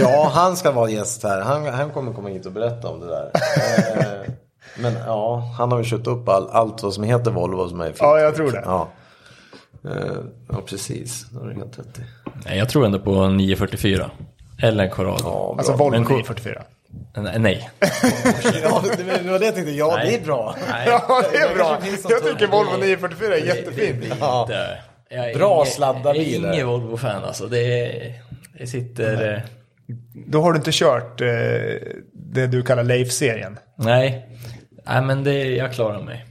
ja, han ska vara gäst här. Han, han kommer komma hit och berätta om det där. Eh, men ja, han har ju köpt upp all, allt vad som heter Volvo som är fint.
Ja, jag tror det.
Ja, eh, ja precis. Då har du helt rätt i.
Nej, jag tror ändå på en 944. Eller en Corrado.
Ja,
Alltså
bra.
Volvo
Men cool.
944.
Nej, Nej.
(laughs) Ja, det var- det var det jag tänkte. Ja, det är bra.
(laughs) Ja, det är bra.
kanske finns något
Jag tycker
tungt.
Volvo 944 är jättefin.
Ja.
Det- jag är
Bra
ingen-
sladdarbil.
Jag är ingen Volvo-fan alltså. Det är... Det sitter... eh,
Då har du inte kört eh, det du kallar Leif-serien.
Nej. Nej, men det, jag klarar mig.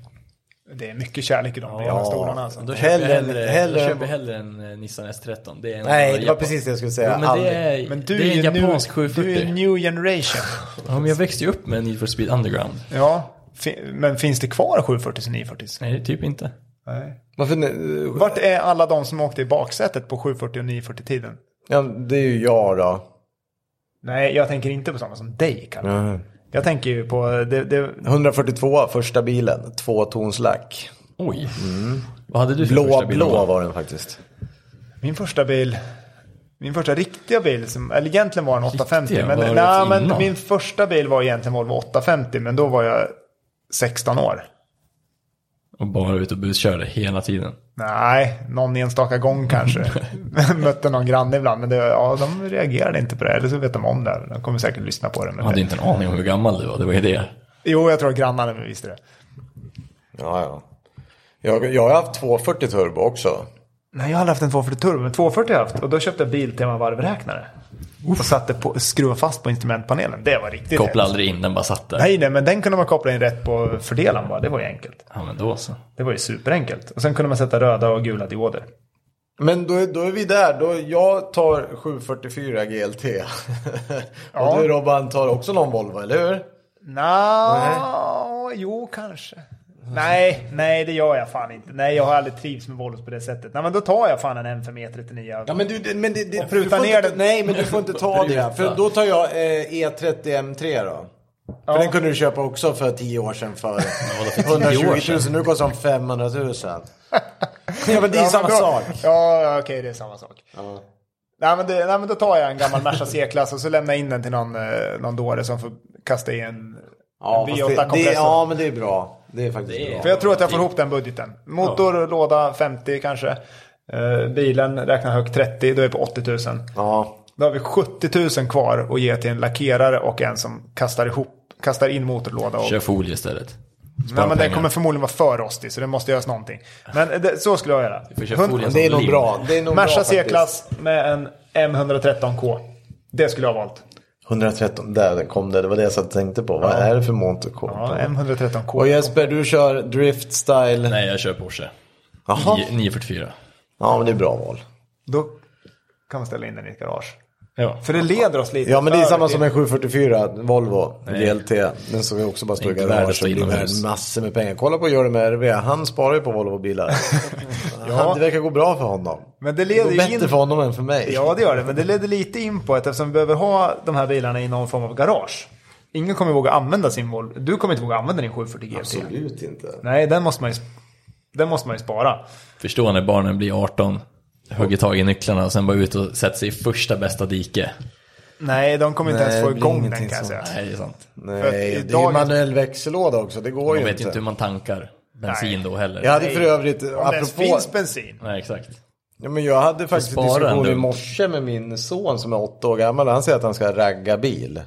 Det är mycket kärlek i de breda stolarna alltså.
Då köper jag
Hellre än-
hellre,
hellre
då
än-
köper jag hellre en eh, Nissan S13. Det är en
Nej, det var
Japan-
precis det jag skulle säga.
Jo, men det
Aldrig.
är,
Men du
det är en
är ju
japansk
new, du är
740.
new generation.
Ja, men jag växte ju upp med Need for Speed Underground.
Ja, fi- men finns det kvar 740 och 940?
Nej, typ inte.
Nej.
Varför,
Vart är alla de som åkte i baksätet på 740 och 940 tiden?
ja, det är ju jag då.
Nej, jag tänker inte på sådana som dig Kalle.
Mhm.
Jag tänker ju på, det, det,
142 första bilen, tvåtonslack.
Oj. Vad hade du för
Mm. Blå,
första bil?
blå var den faktiskt.
min första bil, min första riktiga bil, som, eller egentligen var en 850.
Riktiga? Vad
men,
har du
nej,
haft
men
innan?
min första bil var egentligen Volvo 850, men då var jag 16 år.
Och bara ut och buskörde hela tiden.
Nej, någon enstaka gång kanske.
(laughs)
(laughs) Mötte någon granne ibland, men det, ja, de reagerade inte på det. Eller så vet de om det. De kommer säkert lyssna på det.
Jag
Men
hade
det
inte en aning om hur gammal du var, det var ju det.
jo, jag tror att grannarna visste det.
Ja, ja. Jag, jag har haft 240 turbo också.
Nej, jag hade haft en 240 Turbo, men 240 har jag haft. Och då köpte jag Biltema varvräknare. Och satte på, skruvade fast på instrumentpanelen. Det var riktigt
Kopplade
hemskt.
aldrig in, den bara satt där.
Nej, nej, men den kunde man koppla in rätt på fördelaren bara. Det var ju enkelt.
Ja, men då så.
Det var ju superenkelt. Och sen kunde man sätta röda och gula dioder.
Men då, är- då är vi där. Då, jag tar 744 GLT. (laughs)
Ja.
Och du Robban tar också någon Volvo, eller hur?
Nå, jo kanske. Nej, nej det gör jag fan inte. Nej, jag har aldrig trivts med Volvos på det sättet. Nej, men då tar jag fan en E M5 E39.
Ja, men du, det- men det, det, du
pruta
får
ner
inte,
den.
Nej, men du får inte ta (laughs) det.
Pruta.
För då tar jag eh, E30 M3 då. För
Ja.
den kunde du köpa också för 10 år sedan (laughs) för
vadå, för 10 år
120 000.
sedan?
Nu kostar de 500 000. (laughs) Ja, men det är samma
då,
sak.
Ja, ja, okej, det är samma sak. Nej, men det, nej, men då tar jag en gammal Merca C-klass och så lämnar jag in den till någon, eh, någon dåre som får kasta i en,
Ja,
en
fast det, det,
V8-kompressor.
ja, men det är bra. Det är faktiskt
Det är-
bra.
För jag tror att jag får ihop den budgeten. Motor, låda 50 kanske. Eh, bilen räknar högt 30, då är vi på 80 000.
Ja.
Då har vi 70 000 kvar att ge till en lackerare och en som kastar ihop, kastar in motorlåda. Och,
Kör folie istället.
nej, men den
pengar.
kommer förmodligen vara för rostig så det måste göras någonting. Men det, så skulle jag göra.
får köra
Hund-
folie.
Det är nog
Lim.
bra. Det är nog bra
Merca
faktiskt.
C-klass med en M113K. Det skulle jag ha valt.
113, där kom det. Det var det jag satt och tänkte på. Vad är det för monter
Ja,
Och
M113K.
Jesper, du kör drift style.
Nej, jag kör Porsche.
Jaha.
9- 944.
Ja, men det är bra val.
Då kan man ställa in den i ett garage.
Ja.
För det leder oss lite
Ja, men det är
över
samma
till-
som en 744 Volvo GLT. Den som vi också bara står i
Inte värd att
garage
stå
och blir
inomhus.
värd massor med pengar. Kolla på Jörgen med RV. Han sparar ju på Volvo-bilar. Han- Det verkar gå bra för honom.
Men det
Det går
leder ju in
bättre för honom än för mig.
Ja, det gör det. Men det leder lite in på att eftersom vi behöver ha de här bilarna i någon form av garage. Ingen kommer våga använda sin Volvo. Du kommer inte våga använda din 740 GT.
Absolut inte.
Nej, den måste man ju, den måste man ju spara.
Förstå när barnen blir 18, hugger tag i nycklarna och sen bara ut och sätter sig i första bästa dike.
Nej, de kommer inte
Nej,
ens få
det blir
igång den
ingenting
kan jag
sånt.
säga.
Nej, det är sant.
Nej,
För att
det är ju
idag-
manuell växellåda också. Det går
Man
ju
vet ju inte
inte.
hur man tankar bensin
Nej.
då heller.
Jag hade för övrigt,
Om det ens
apropå,
finns bensin.
Nej, exakt.
Ja, men jag hade faktiskt en
Spara en
diskussion i
dunk.
morse med min son som är åtta år gammal. Han säger att han ska ragga bil.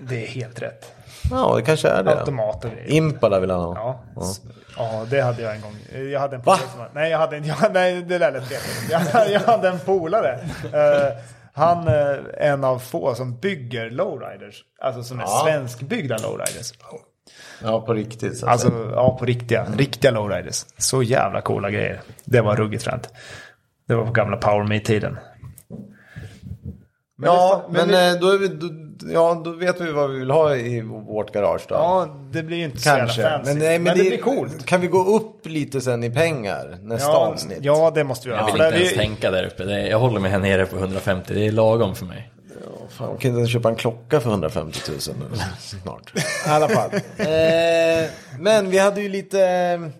Det är helt rätt.
Ja, det kanske är det.
Automat och grejer.
Impala vill han ha.
Ja. s- ja, det hade jag en gång. Jag hade en
Va?
polare som var- Nej, jag hade inte. (laughs) Jag, nej, det där lät fel. Jag, jag hade en polare. Eh, han är en av få som bygger lowriders. Alltså som är
Ja.
svenskbyggda lowriders.
Ja, på riktigt. Så att
Alltså,
säga.
ja, på riktiga. Riktiga lowriders. Så jävla coola grejer. Det var ruggigt fränt. Det var på gamla Power Me-tiden. Men
ja,
det-
men,
det-
eh, då, är vi, då, ja, då vet vi vad vi vill ha i vårt garage då.
Ja, det blir ju inte så
kanske.
jävla fancy.
Men, nej, men, det,
blir coolt.
Kan vi gå upp lite sen i pengar nästa
Ja,
avsnitt?
ja, det måste vi göra.
Jag vill
För
inte
där
ens
vi-
tänka där uppe. Det är, jag håller mig här nere på 150, det är lagom för mig.
Åh, Fan, jag kan inte ens köpa en klocka för 150 000 nu, snart.
(laughs)
I alla fall. eh, men vi hade ju lite...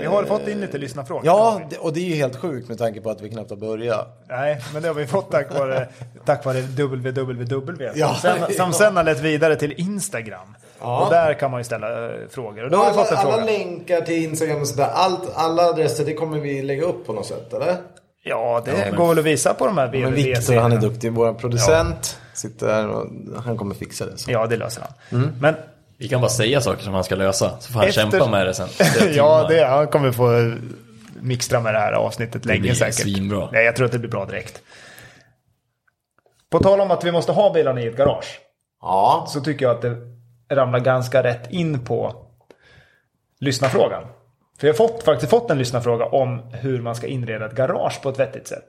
Vi har fått in lite lyssnarfrågor.
Ja, det- och det är ju helt sjukt med tanke på att vi knappt har börjat.
Nej, men det har vi fått tack vare, tack vare www.
Ja.
som, sen, som sen har lett vidare till Instagram.
Ja.
Och där kan man ju ställa eh, frågor. Och då har vi
Alla,
fått en
alla
fråga.
länkar till Instagram och sådär, allt, alla adresser, det kommer vi lägga upp på något sätt eller?
Ja, det går väl att visa på de här E
Men Viktor
www
han är duktig, vår producent. Sitter där och han kommer fixa det. Så.
Ja, det löser han.
Mm.
Men
Vi kan bara säga saker som han ska lösa, så får han
Efter-
kämpa med det sen. Flera
(laughs) ja,
timmar.
det, han kommer få mixtra med det här avsnittet länge
blir
säkert.
svinbra.
Nej, jag tror att det blir bra direkt. På tal om att vi måste ha bilarna i ett garage.
Ja.
Så tycker jag att det ramlar ganska rätt in på lyssnarfrågan. För jag har fått, faktiskt fått en lyssnarfråga om hur man ska inreda ett garage på ett vettigt sätt.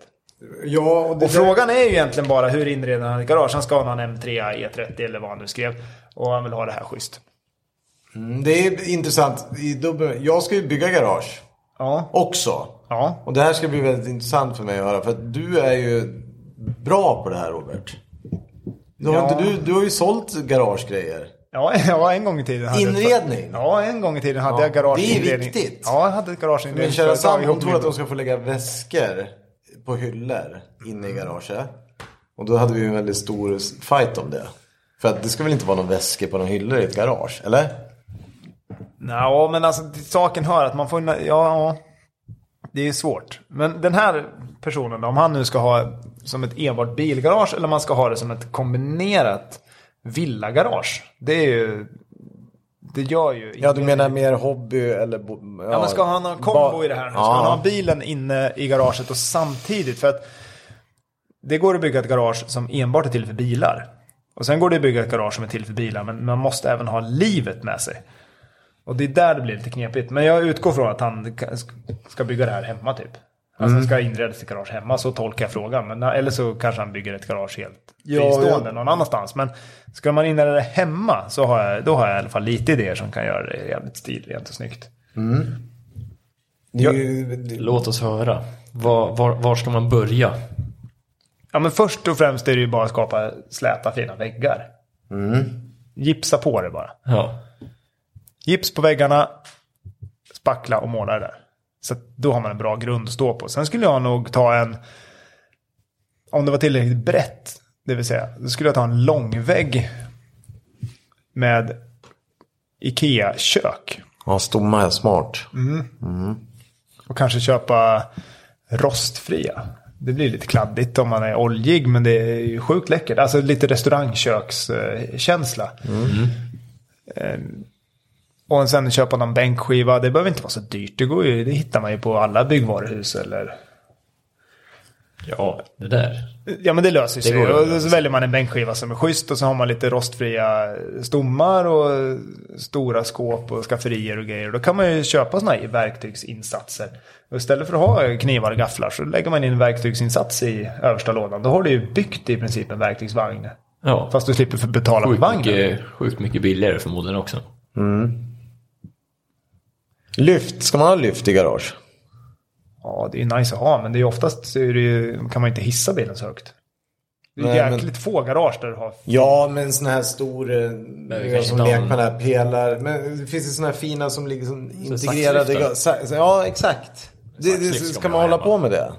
ja
Och frågan är ju egentligen bara hur inreder han ett garage? Han ska ha någon M3, E30 eller vad han nu skrev. Och han vill ha det här schysst.
Mm, Det är intressant. I dubbel- Jag ska ju bygga garage
Ja.
också.
Ja.
Och det här ska bli väldigt intressant för mig att höra. För att du är ju bra på det här Robert. Du har,
Ja.
inte, du, du har ju sålt garagegrejer.
Ja, (laughs) ja, en gång i tiden hade jag...
Inredning.
Ja, en gång i tiden hade
Ja,
jag garageinredning.
det är viktigt.
Ja, jag hade ett
Min kära
garageinredningsföretag
Sam, hon
ihop med
tror att de ska få lägga väskor på hyllor inne i garaget. Och då hade vi ju en väldigt stor fight om det. För att det ska väl inte vara någon väskor på någon hyllor i ett garage, eller?
Ja, men alltså till saken hör att man får... Ja, ja, det är svårt. Men den här personen då, om han nu ska ha som ett enbart bilgarage eller om man ska ha det som ett kombinerat villagarage. Det är ju... Det gör ju...
Ja, du menar mer hobby eller... bo-
Ja, men ska han ha en kombo i det här nu? Ska
Ja.
han ha bilen inne i garaget och samtidigt? För att det går att bygga ett garage som enbart är till för bilar. Och sen går det att bygga ett garage som är till för bilar, men man måste även ha livet med sig. Och det är där det blir lite knepigt. Men jag utgår från att han ka- ska bygga det här hemma typ.
Mm.
Alltså ska inreda sitt garage hemma, så tolkar jag frågan. Men, eller så kanske han bygger ett garage helt
Ja,
fristående
ja.
någon annanstans. Men ska man inreda det hemma så har jag, då har jag i alla fall lite idéer som kan göra det jävligt stilrent och snyggt.
Det är ju- det-
Låt oss höra. Var, var, var ska man börja?
Ja, men först och främst är det ju bara att skapa släta fina väggar. Gipsa på det bara.
Ja.
Gips på väggarna, spackla och måla det där. Så att då har man en bra grund att stå på. Sen skulle jag nog ta en, om det var tillräckligt brett, det vill säga, då skulle jag ta en långvägg med Ikea-kök.
Ja, stomme är smart.
Och kanske köpa rostfria. Det blir lite kladdigt om man är oljig, men det är ju sjukt läckert. Alltså lite restaurangkökskänsla. Eh, Och sen köpa någon bänkskiva. Det behöver inte vara så dyrt. Det, går ju, det hittar man ju på alla byggvaruhus eller...
ja, det där.
Ja men det löser sig.
går ju att
och så väljer man en bänkskiva som är schysst och så har man lite rostfria stommar och stora skåp och skafferier och grejer. Då kan man ju köpa sådana här verktygsinsatser. Och istället för att ha knivar och gafflar så lägger man in en verktygsinsats i översta lådan. Då har du ju byggt i princip en verktygsvagn.
Ja.
Fast du slipper för betala för
Sjukt
vagnen.
mycket, sjukt mycket billigare förmodligen också.
Lyft, ska man ha lyft i garage?
Ja, det är ju nice att ha men det är ju oftast så är det ju, kan man inte hissa bilen så högt. Det är
Nej, men-
jäkligt få garage där du har...
Ja, men sån här stor, eh,
kanske
som
inte har
lekman
någon-
här, pelar. Men det finns ju såna här fina som ligger som integrerade.
saxlyftar.
ga- sa- sa- Ja, exakt. Det, det,
Saxlyft ska
ska
man
man
ha
hålla
hemma.
på med det?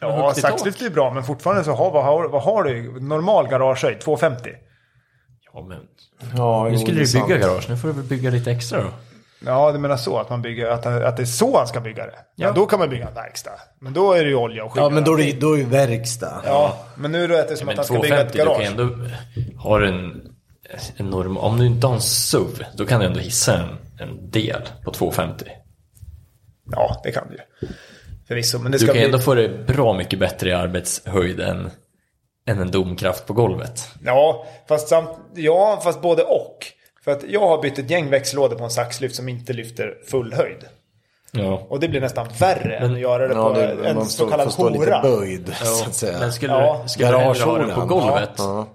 Ja, saxlyft är ju bra men fortfarande så har, vad, har, vad har du? Normal garagehöjd, 250.
Ja, men.
Ja,
Nu skulle du bygga garage, nu får du väl bygga lite extra då.
Ja, du menar så att man bygger, att, att det är så han ska bygga det. Ja. då kan man bygga en verkstad. Men då är det ju olja och skit.
Ja, men då är det då är det verkstad.
Ja, men nu låter det som
Men
att han ska bygga ett
250, du kan
garage.
ju ändå ha en, en norm, om du inte har en SUV, då kan du ändå hissa en, en del på 250.
Ja, det kan du ju. Förvisso, men det
Du
ska
kan ju
bli...
ändå få det bra mycket bättre i arbetshöjd än, än en domkraft på golvet.
Ja, fast samt... Ja, fast både och. För att jag har bytt ett gäng växellådor på en saxlyft som inte lyfter full höjd.
Ja.
Och det på- det blir nästan värre än att göra det
Ja,
på
det,
en
man
så
får, får
kallad
stå lite
hora.
böjd, så att säga.
Men skulle,
Ja,
du skulle du hellre ha det på
garagehålan.
golvet,
Ja.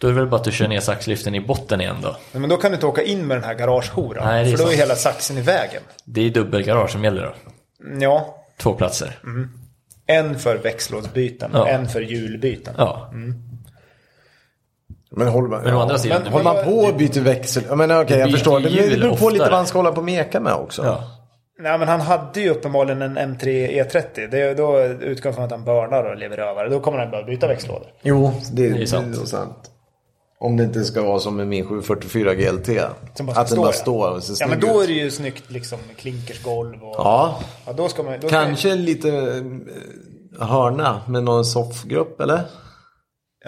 då är det väl bara att du kör ner saxlyften i botten igen då.
Men då kan du inte åka in med den här
Nej,
garagehoran.
det är
För då är
sant.
hela saxen i vägen.
Det är dubbelgarage som gäller då.
Ja,
Två platser.
Mm. en för växellådsbyten och
Ja.
en för hjulbyten.
Ja.
Mm.
Men håller man,
Men å andra sidan,
men-
håller man på och byter växel? Ja, men okej, jag
byter
förstår. Det, men det
hjul
beror på lite
oftare.
vad han ska hålla på och meka med också.
ja.
Nej men han hade ju uppenbarligen en M3 E30. Det, då utgår jag från att han börnar och lever över. Då kommer han behöva
Mm.
byta växellådor.
Jo, det,
är sant.
nog sant. Om det inte ska vara som med min 744 GLT.
Som bara ska
att den
stå
bara
där.
står och ser
Ja
snygg
men då är
ut.
det ju snyggt liksom med klinkersgolv och...
Ja,
Ja, då ska man, då ska-
kanske lite eh, hörna med någon soffgrupp eller?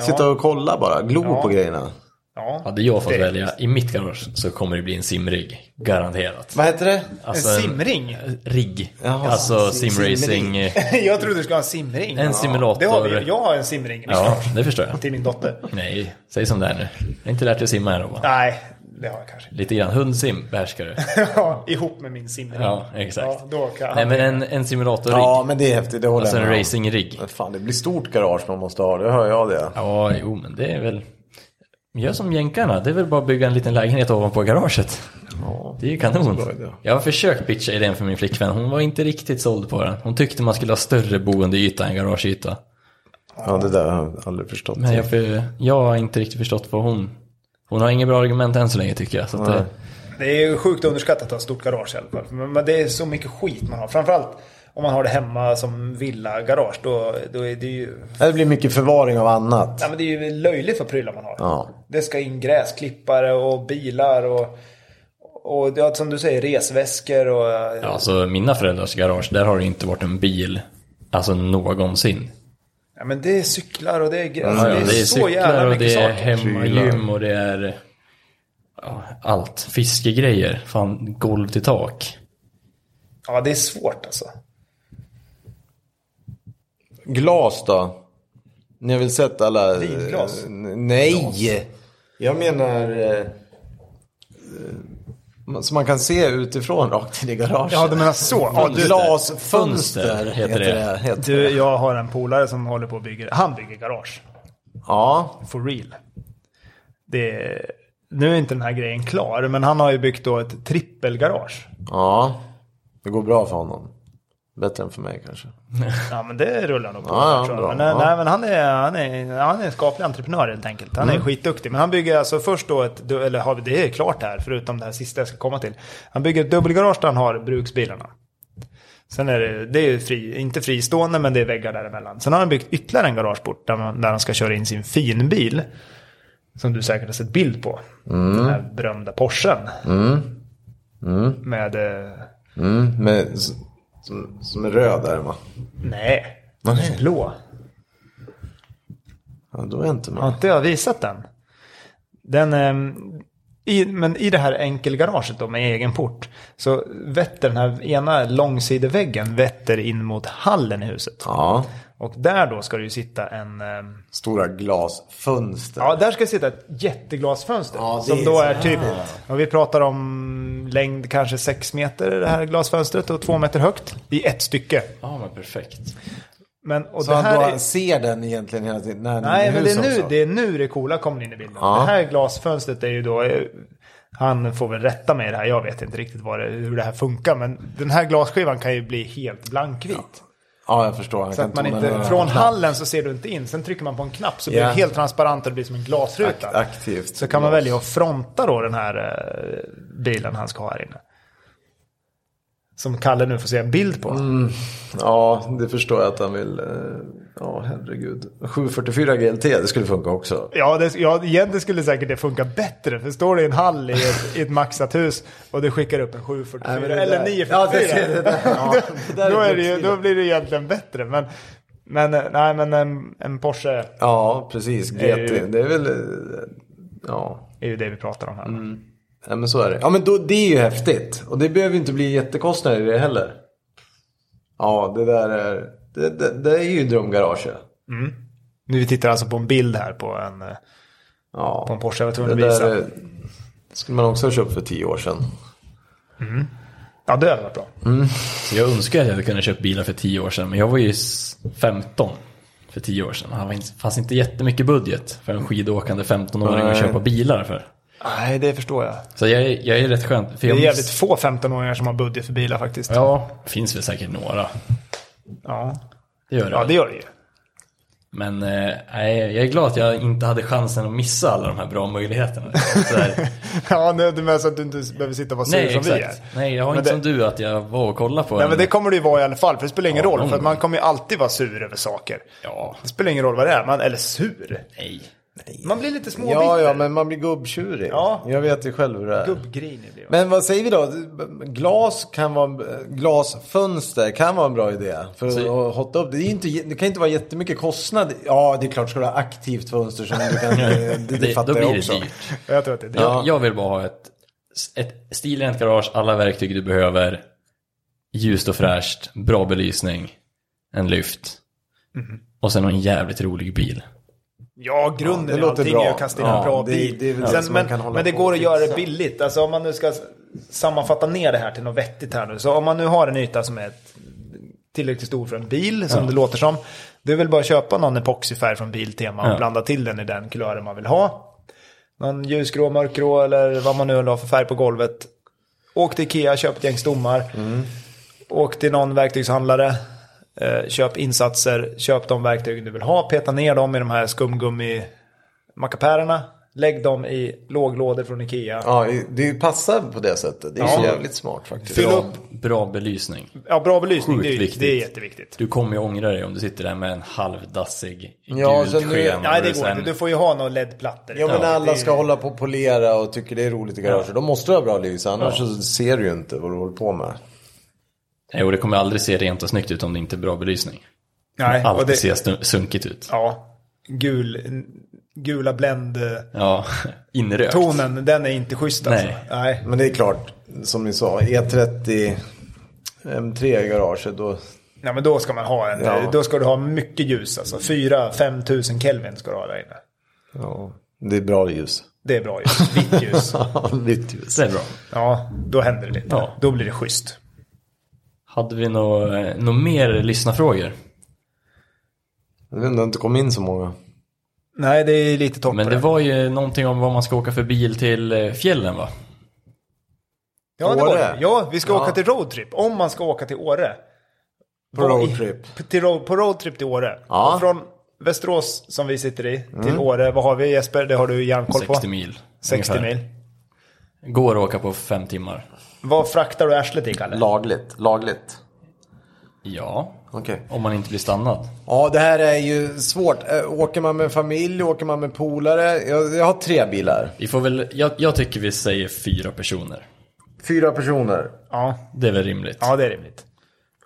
Sitta och kolla bara, glo på grejerna.
Ja,
Hade jag fått
det-
välja i mitt garage så kommer det bli en simrig. Garanterat.
Vad heter det?
Alltså,
en simring? (laughs)
Rigg.
Jaha,
alltså
sim-
simracing.
simring.
jag trodde du skulle ha en simring.
En simulator.
Det har vi. ju. Jag har en simring. liksom,
Ja, det förstår
(laughs)
jag.
Till min dotter.
Nej, säg som det är nu. Jag har inte lärt dig simma än Robban.
Nej, det har jag kanske
Lite grann. Hundsim behärskar du.
(laughs) Ja, ihop med min simring.
Ja, exakt.
Ja, då kan
Nej, men en, en simulatorrigg.
Ja, men det är häftigt. Det håller
alltså
jag
en
med om.
racingrigg.
Men fan, det blir stort garage man måste ha. Det hör jag det.
Ja, jo, men det är väl... Gör som jänkarna, det är väl bara att bygga en liten lägenhet ovanpå garaget. Det är ju kanon.
bra idé.
Jag har försökt pitcha idén för min flickvän, hon var inte riktigt såld på den. Hon tyckte man skulle ha större boendeyta än garageyta.
Ja, det där har jag aldrig förstått.
Men jag, för, jag har inte riktigt förstått vad hon... Hon har inga bra argument än så länge tycker jag. Så att det,
Det är ju sjukt underskattat att ha ett stort garage i alla fall. Men men det är så mycket skit man har. Framförallt om man har det hemma som villa-garage. Då, då är det ju...
Det blir mycket förvaring av annat.
Nej, men det är ju löjligt för prylar man har.
Ja.
Det ska in gräsklippare och bilar och... Och ja, som du säger, resväskor och...
ja, alltså mina föräldrars garage, där har det inte varit en bil, alltså någonsin.
Ja, men det är cyklar och det är... gre- Alltså,
Ja, ja, det är
så jävla
cyklar och
mycket
det är
saker.
hemmagym och det är ja, allt. Fiskegrejer, fan golv till tak.
Ja, det är svårt alltså.
Glas då? Ni har väl sett alla...
Vinglas?
N- Nej! Jag menar... eh, eh, Som man kan se utifrån rakt in i garaget.
Ja, du menar så. Ja, du-
Glasfönster heter
Heter det.
det. Heter. det.
Du, jag har en polare som håller på och bygger... Han bygger garage.
Ja,
for real. Det, nu är inte den här grejen klar, men han har ju byggt då ett trippelgarage.
ja. Det går bra för honom. Bättre än för mig kanske.
Ja, men det rullar nog på.
Ja, ja,
tror
bra.
jag. men, eh,
Ja.
nej, men han, är, han, är, han är en skaplig entreprenör helt enkelt. Han
Mm.
är skitduktig. Men han bygger alltså först då ett, du- eller har vi, det är klart här, förutom det här sista jag ska komma till. Han bygger ett dubbelgarage där han har bruksbilarna. Sen är det, det är ju fri, inte fristående, men det är väggar däremellan. Sen har han byggt ytterligare en garageport där, man, där han ska köra in sin finbil. Som du säkert har sett bild på.
Mm.
Den här berömda Porschen. Med, eh,
Mm, men, s- som, som är röd där va?
nej,
Nej.
blå.
Ja, då är jag inte med.
Har inte jag visat den? Den, ehm, i, men i det här enkelgaraget då med egen port. Så vetter den här ena långsideväggen vetter in mot hallen i huset.
Ja.
Och där då ska det ju sitta en... ehm,
Stora glasfönster.
Ja, där ska det sitta ett jätteglasfönster.
Ja, det
som
är
då
så
är
här.
typ... Ja, vi pratar om längd kanske 6 meter i det här glasfönstret och 2 meter högt. I ett stycke.
Ja, men perfekt.
Men, och
så
det
han
här
då
är...
ser den egentligen hela tiden. När ni
Nej,
är i
men det är,
huset
nu,
också.
det är nu det coola kommer in i bilden.
alltså. Ja.
Det här glasfönstret är ju då... eh, Han får väl rätta mig i det här. Jag vet inte riktigt vad det, hur det här funkar. Men den här glasskivan kan ju bli helt blankvit.
Ja, jag förstår. Han
Så att man
tona
inte,
ner
från
den.
hallen så ser du inte in. Sen trycker man på en knapp så blir
Ja.
det helt transparent och det blir som en glasruta.
Akt- aktivt.
Så kan man välja att fronta då den här eh, bilen han ska ha här inne. Som Kalle nu får se en bild på.
Ja, det förstår jag att han vill. eh, Ja, herregud. 744 GLT, det skulle funka också.
Ja, det, ja, egentligen skulle säkert det funka bättre. För står det i en hall i ett, i ett maxat hus och det skickar upp en 744
Nej, men det
eller
där- Ja,
944.
det- det- det
(laughs)
där- ja, (laughs) det där är
då, är det ju,
bruksbilar.
då blir det egentligen bättre. Men, men, eh, nej, men en, en Porsche
Ja, precis. GT,
är ju-
det är väl... eh, Ja.
är ju det vi pratar om här.
Mm. ja, men så är det. Ja, men då, det är ju häftigt. Och det behöver ju inte bli jättekostnader i det heller. Ja, det där är... Det, det, det är ju drömgarage.
Nu vi tittar alltså på en bild här på en, eh,
Ja.
på en Porsche. Jag var tvungen
Det
att visa.
där eh, skulle man också ha köpt för tio år sedan.
Ja, det hade varit bra.
Så jag önskar att jag hade kunnat köpa bilar för 10 år sedan, men jag var ju s- 15 för 10 år sedan. Det var inte- fanns inte jättemycket budget för en skidåkande 15-åring att
Nej.
köpa bilar för.
Nej, det förstår jag.
Så jag, är- jag är rätt skönt. För
Det
jag
är
miss-
jävligt få 15-åringar som har budget för bilar faktiskt.
Ja, finns väl säkert några.
Ja,
Det gör det.
ja
väl.
det gör det ju.
Men eh, nej, jag är glad att jag inte hade chansen att missa alla de här bra möjligheterna.
(laughs)
Så här,
Ja, nu, du menar så att du inte behöver sitta och vara sur
nej,
som vi är.
exakt. Nej, jag har
Men
inte
det-
som du att jag var och kollade på
Nej,
en-
men det kommer det ju vara i alla fall, för det spelar ingen
Ja,
roll.
någon
För att man kommer ju alltid vara sur över saker.
Ja,
Det spelar ingen roll vad det är, man, eller sur.
nej.
Man blir lite småbitter.
Ja, ja, men man blir gubbtjurig.
Ja.
Jag vet ju själv hur det är.
Gubbgrinig blir man.
Men vad säger vi då? Glas kan vara, glasfönster kan vara en bra idé. För
Så-
att hotta upp. Det, är ju inte, det kan inte vara jättemycket kostnad. Ja, det är klart, ska du ha aktivt fönster som du kan... Det, det,
Det, då
fattar jag
blir
också.
det dyrt.
Jag tror att det är det.
Jag, jag vill bara ha ett, ett stilrent garage, alla verktyg du behöver, ljust och fräscht, bra belysning, en lyft
Mhm.
och sen en jävligt rolig bil.
Ja, grunden
Ja, det
i
låter
allting
bra.
är att kasta in
Ja,
en bra
det-
bil.
det är väl det som
Sen,
man
men,
kan hålla
men det
på
går
och
att göra det
fixa.
billigt. Alltså om man nu ska s- sammanfatta ner det här till något vettigt här nu. Så om man nu har en yta som är ett, tillräckligt stor för en bil, som det låter som. Det är väl bara att köpa någon epoxifärg från Biltema och
Ja.
blanda till den i den kulören man vill ha. Någon ljusgrå, mörkgrå eller vad man nu vill ha för färg på golvet. Åk till Ikea, köp ett gäng stommar. Åk till någon verktygshandlare. Eh, köp insatser, köp de verktyg du vill ha. Peta ner dem i de här skumgummi-mackapärerna. Lägg dem i låglådor från Ikea.
Ja, det passar på det sättet. Det är
Ja.
så jävligt smart faktiskt.
Fyll
Ja.
upp.
Bra belysning.
Ja, bra belysning.
Sjukt
Det är,
viktigt.
det är jätteviktigt.
Du kommer ju ångra dig om du sitter där med en halvdassig
Ja,
gult
så nu-
sken.
alltså, Nej, det
och
går
sen-
inte. Du får ju ha liksom. några LED-plattor.
Ja, men
Det är-
alla ska hålla på och polera och tycker det är roligt i garaget. Då måste du ha bra ljus, annars så ser du ju inte vad du håller på med.
Nej, och det kommer aldrig se rent och snyggt ut om det inte är bra belysning.
Nej, och
Alltid
det,
ser stu- sunkigt ut.
ja, gul, gula bländ-tonen,
Ja, (laughs) inrökt.
den är inte schysst alltså.
Nej.
Nej.
Men det är klart, som ni sa, E30 M3 i garaget, då
Nej, men då ska man ha en.
Ja.
Då ska du ha mycket ljus alltså. 4-5 tusen Kelvin ska du ha där inne.
Ja, det är bra ljus. (laughs)
Det är bra ljus. Vitt ljus.
Vitt ljus.
Det är bra.
Ja, då händer det lite.
Ja.
Då blir det schysst.
Hade vi några nå mer lyssnarfrågor?
Jag vet inte, det har inte kommit in så många.
Nej, det är lite tomt
Men
på
det var ju någonting om vad man ska åka för bil till eh, fjällen va?
Ja, det var
Åre.
det. Ja, vi ska
Ja.
åka till roadtrip. Om man ska åka till Åre.
På
Var i-
roadtrip.
p- Till road, på roadtrip till Åre.
Ja.
Och Från Västerås som vi sitter i till Åre. Vad har vi Jesper? Det har du järnkoll på.
60 mil.
60
ungefär.
mil.
Går att åka på fem timmar.
Vad fraktar du arslet i Kalle?
Lagligt, lagligt.
Ja,
Okej.
om man inte blir stannad.
Ja, det här är ju svårt. Eh, Åker man med familj, åker man med polare? Jag, jag har tre bilar.
Vi får väl, jag, jag tycker vi säger fyra personer.
Fyra personer.
Ja.
Det är väl rimligt.
ja, det är rimligt.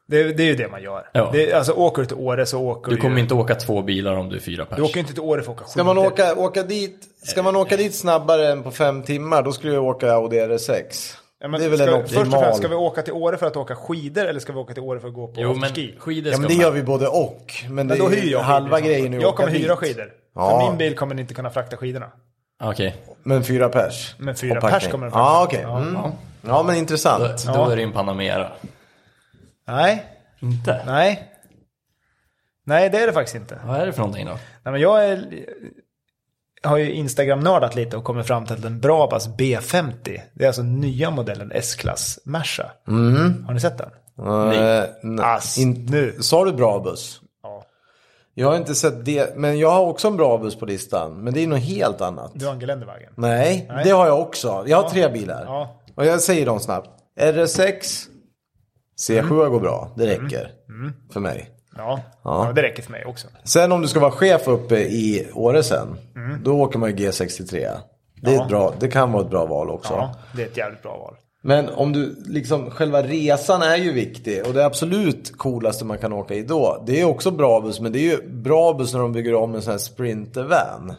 Det, det är ju det man gör.
Ja.
Det, alltså åker du till Åre så åker
Du kommer
ju,
inte åka två bilar om du är fyra pers.
Du åker ju inte till Åre för att åka
Ska man åka, åka dit? Ska man åka dit snabbare än på fem timmar, då skulle jag åka Audi R6.
Ja, men
det är väl
ska,
en
Först och
optimal.
främst, ska vi åka till Åre för att åka skidor eller ska vi åka till Åre för att gå på
Jo men
afterski?
skidor
Ja,
ska
men det
man.
gör vi både och. Men, det
Men då
är ju
hyr jag
halva
skidor. liksom.
grejen är att
Jag
åka
kommer hyra
dit.
skidor.
Ja.
För min bil kommer ni inte kunna frakta skidorna.
Okej,
Men fyra pers?
Men fyra
Och packning.
pers kommer det fram.
Ja, okej. Mm. Ja, men intressant.
då, då är det en Panamera.
Nej,
Inte?
nej. Nej, det är det faktiskt inte.
Vad är det för någonting då?
Nej, men jag är, har ju Instagram-nördat lite och kommit fram till att den Brabas B50, det är alltså nya modellen S-klass Merca.
Mm.
Har ni sett den?
Eh, nej.
Ass,
In-
Alltså, nu.
Sa du bra buss?
Ja.
Jag har inte sett det, men jag har också en bra buss på listan. Men det är något helt annat.
Du har en Geländewagen.
Nej, det har jag också. Jag har tre bilar.
Ja.
Och jag säger dem snabbt. RS6, C7
Mm.
går bra. Det räcker för mig.
Ja. Ja. det räcker för mig också.
Sen om du ska vara chef uppe i Åre sen,
Mm.
då åker man ju G63. Det, är ett bra, det kan vara ett bra val också.
Ja, det är ett jävligt bra val.
Men om du liksom, själva resan är ju viktig och det absolut coolaste man kan åka i då. Det är också Brabus, men det är ju Brabus när de bygger om en sån här Sprintervan.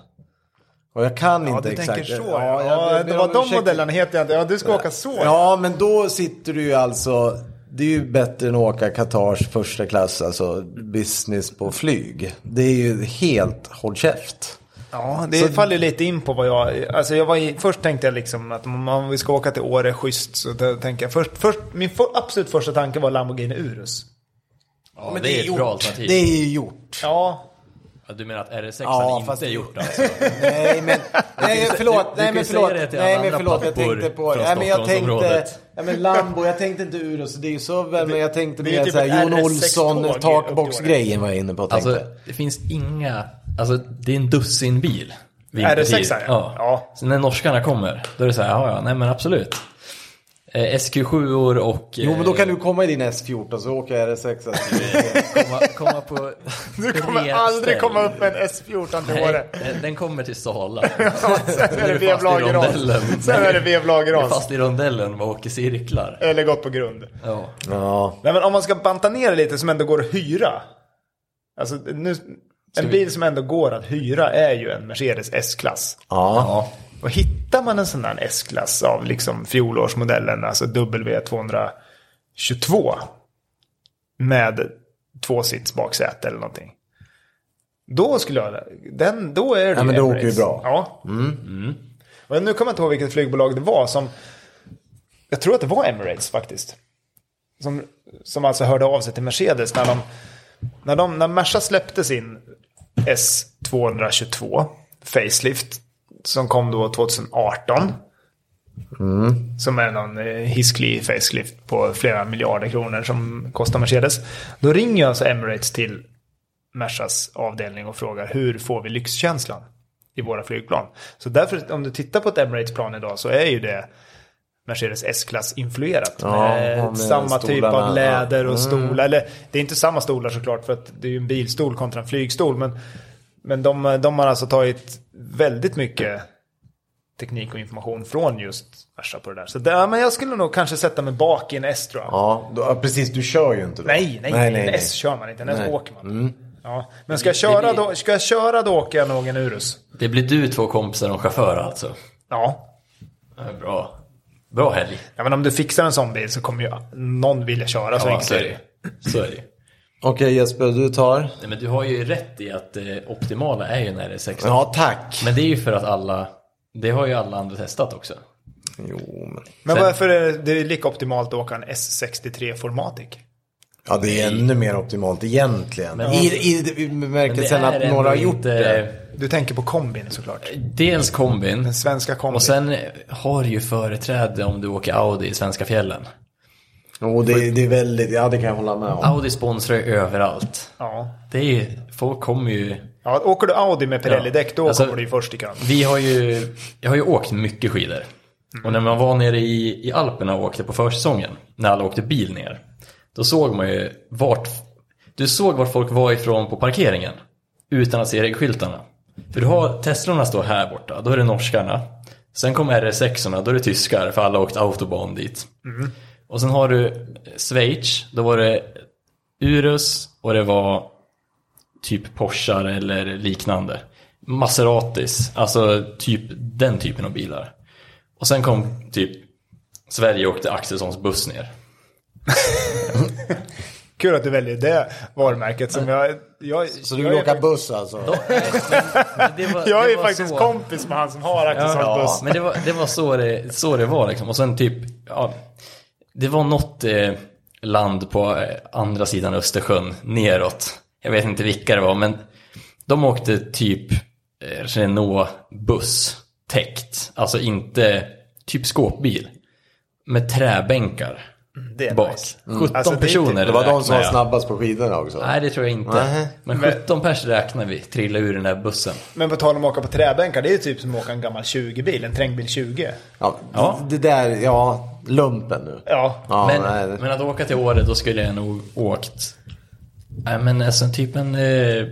Och jag kan
Ja,
inte
du
exakt.
tänker så.
Ja,
Ja,
jag ber- ber om
vad de
ursäkt.
modellerna heter jag inte. Ja, du ska åka så.
Ja, men då sitter du ju alltså. Det är ju bättre än att åka Qatars första klass, alltså business på flyg. Det är ju helt håll käft.
Ja, det faller lite in på vad jag... Alltså jag var i, först tänkte jag liksom att om man- vi ska åka till Åre schysst så då tänker jag först... först min för, absolut första tanke var Lamborghini Urus.
Ja, det, är ett bra alternativ.
Det är ju gjort.
Ja,
Ja, Du menar att RS6
Ja,
inte
fast-
är gjort alltså?
Nej men, nej,
ju-
förlåt,
(laughs) du- du
nej,
kan
men
ju
förlåt,
säga det till alla
nej men
andra
förlåt, jag
pappor
tänkte på,
från
nej men jag tänkte,
Stockholmsområdet.
ja, men Lambo, jag tänkte inte Urus, det är ju SUVen, men jag tänkte
det är ju
mer
typ
såhär
ett
Jon
RS6-tåg
Olsson
upp till
takboxgrejen var jag inne på tänkte.
Alltså, det finns inga... Alltså, det är en dussin bil. vintertid.
RS6, ja.
ja.
Ja.
Så när norskarna kommer, då är det så här, ja, ja, nej men absolut. eh, SQ7 or och...
Jo, men då
eh,
kan du komma i din S14 så åker jag RS6.
eh, komma, komma på
Du kommer
tre
aldrig
ställen.
komma upp med en S14 till
Nej,
Åre.
den- den kommer till Sala.
Sen är det
du fast i rondellen.
vevlageras. Sen är det
Den är
vevlageras.
fast i rondellen och åker cirklar.
Eller gått på grund.
(laughs) Ja.
Ja.
Nej, men om man ska banta ner det lite som ändå går att hyra. Alltså, nu, en bil som ändå går att hyra är ju en Mercedes S-klass.
Ja.
Och hittar man en sån där S-klass av liksom fjolårsmodellen, alltså W222. Med tvåsits baksäte eller någonting. Då skulle jag, den, då är det
Ja, men
ju
då åker
Emirates.
vi bra. Mm.
Ja. Och nu kommer jag inte ihåg vilket flygbolag det var som, jag tror att det var Emirates faktiskt. Som, som alltså hörde av sig till Mercedes när de, när de, när Merca släppte sin S222 Facelift som kom då 2018. Som är någon eh, hisklig facelift på flera miljarder kronor som kostar Mercedes. Då ringer jag alltså Emirates till Mercas avdelning och frågar hur får vi lyxkänslan i våra flygplan. Så därför om du tittar på ett Emirates-plan idag så är ju det Mercedes S-klass influerat.
Ja,
med
med
samma typ
stolarna, ja. Mm.
av läder och stolar. Eller det är inte samma stolar såklart för att det är ju en bilstol kontra en flygstol. Men, men de, de har alltså tagit väldigt mycket teknik och information från just Merca på det där. Så där, men jag skulle nog kanske sätta mig bak i en S tror jag.
Ja, då, ja, precis. Du kör ju inte då.
Nej, nej, nej, en S kör man inte, en S
Nej.
åker man. Ja. Men ska jag, köra då, ska jag köra då åker jag nog en Urus.
Det blir du, två kompisar och en chaufför alltså.
Ja.
Ja, Bra. Bra helg.
ja, men om du fixar en sån bil så kommer ju någon vilja köra så
Ja,
enkelt
så
är
är
det.
det. Så är det.
Okej Jesper, du tar.
Nej, men du har ju rätt i att det optimala är ju när det är 16.
Ja, tack.
Men det är ju för att alla, det har ju alla andra testat också.
Jo, men...
Men
Sen-
varför är det, det är lika optimalt att åka en S63 Formatic?
Ja, det är ännu mer optimalt egentligen.
Men-
I, i, i bemärkelsen att några har gjort det.
Du tänker på kombin såklart.
Dels kombin.
Den svenska kombin.
Och sen har du ju företräde om du åker Audi i svenska fjällen.
Och det, det är väldigt, ja det kan jag hålla med om.
Audi sponsrar ju överallt.
Ja.
Det är ju, folk kommer ju...
ja, åker du Audi med Pirelli-däck då
Alltså-
kommer du ju först i kön.
Vi har ju, jag har ju åkt mycket skidor. Och när man var nere i, i Alperna och åkte på försäsongen, när alla åkte bil ner, då såg man ju vart, du såg vart folk var ifrån på parkeringen, utan att se regskyltarna. För du har, Teslorna står här borta, då är det norskarna. Sen kommer RS6orna, då är det tyskar, för alla har åkt autobahn dit. Och sen har du eh, Schweiz, då var det Urus och det var typ Porschar eller liknande. Maseratis, alltså typ den typen av bilar. Och sen kom typ Sverige åkte Axelssons buss ner.
Kul att du väljer det varumärket som jag... jag
Så du
jag
vill
är-
åka buss alltså?
Det var,
Jag
det
är
var
faktiskt
så-
kompis med han som har Axelssons
Ja,
buss.
men det var, det var så, det, så det var liksom. Och sen typ, ja, det var något eh, land på eh, andra sidan Östersjön, neråt. Jag vet inte vilka det var, men de åkte typ eh, Renault-buss, täckt. Alltså inte typ skåpbil, med träbänkar
Det är
bak.
nice.
17
Alltså, det är inte-
personer
Det var de som
räknar
var
jag.
snabbast på skidorna också?
Nej, det tror jag inte.
Nej.
Men 17 pers räknar vi trilla ur den där bussen.
Men på tal om att åka på träbänkar, det är ju typ som att åka en gammal 20-bil, en trängbil 20.
Ja,
Ja.
Det där, ja, lumpen nu.
Ja.
Ja, nej.
men, men att åka till Åre, då skulle jag nog åkt... Nej, men alltså typ en... Eh,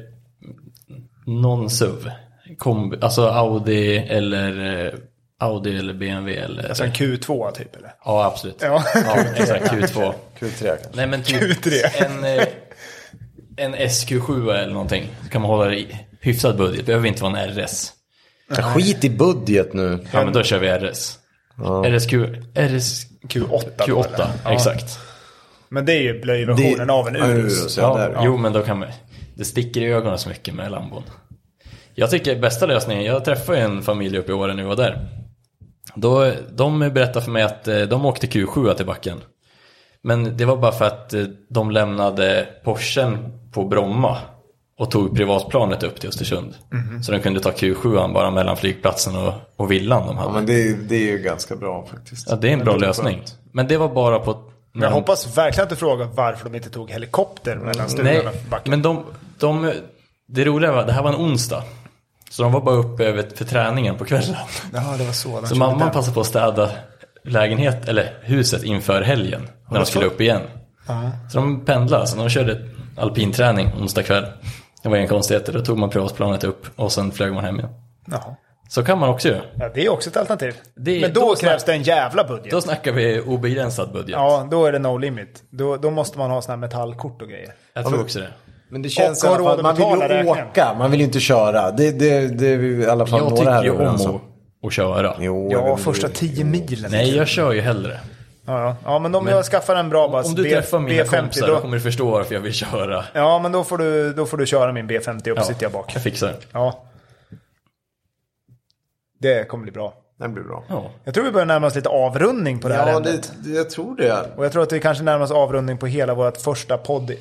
någon SUV. Kombi, alltså Audi eller... Eh, Audi eller BMW eller...
Alltså en Q2 typ eller?
ja, absolut.
Ja.
exakt. Q2.
Q3 kanske.
Nej, men typ
Q3.
en... Eh, en SQ7 eller någonting. Så kan man hålla det i hyfsad budget. Behöver inte vara en RS.
Skit i budget nu.
Ja, men då kör vi RS. RSQ... RS...
Q8. då,
Q8,
eller?
exakt.
Men det är ju blöjversionen
Det-
av en Urus.
Urus, ja.
Ja,
där,
Jo, men då kan man... Det sticker i ögonen så mycket med lambon. Jag tycker bästa lösningen, jag träffade ju en familj uppe i Åre nu och där. Då, de berättade för mig att eh, de åkte Q7 till backen. Men det var bara för att eh, de lämnade Porschen på Bromma och tog privatplanet upp till Östersund. Så de kunde ta Q7 bara mellan flygplatsen och, och villan de hade.
Ja,
Ja,
men det, det är ju ganska bra faktiskt.
det är en bra lösning. Men det var bara på...
Men
när
jag
de
hoppas verkligen att du frågar varför de inte tog helikopter mellan
Nej,
stugorna och backen.
men de, de, det roliga var det här var en onsdag. Så de var bara uppe över- för träningen på kvällen.
Ja, det var så.
Så mamman passade på att städa lägenhet, eller huset inför helgen när de skulle upp igen. Så de pendlade, så de körde alpinträning onsdag kväll. Det var inga konstigheter, då tog man privatplanet upp och sen flög man hem igen.
Jaha.
Så kan man också göra.
Ja, det är också ett alternativ.
Det-
Men då,
då
krävs det en jävla budget.
Då snackar vi obegränsad budget.
ja, då är det no limit. Då, då måste man ha såna här metallkort och grejer.
Jag tror också det.
Men det känns i
Och har
alla fall,
råd
man
att
vill ju
betala räkningen.
åka, man vill ju inte köra. Det, det, det är vi i alla fall
Jag
några
tycker
här
ju
överens
om att, att köra.
Jo, jag
Ja,
vill-
första tio milen.
Nej, jag kör ju hellre.
Ja, ja. ja men om jag skaffar en bra bas,
Om du
Alltså, B-
träffar mina
B50,
kompisar då
då,
kommer du förstå varför jag vill köra.
Ja, men då får, du, då får du köra min B50 och
Ja,
så sitter jag bak.
Jag fixar det.
Ja. Det kommer bli bra.
Den blir bra.
Ja.
Jag tror vi börjar närma oss lite avrundning på det här
Ja,
ämnet.
det, det- jag tror det.
Och jag tror att vi kanske närmar oss avrundning på hela vårt första podd...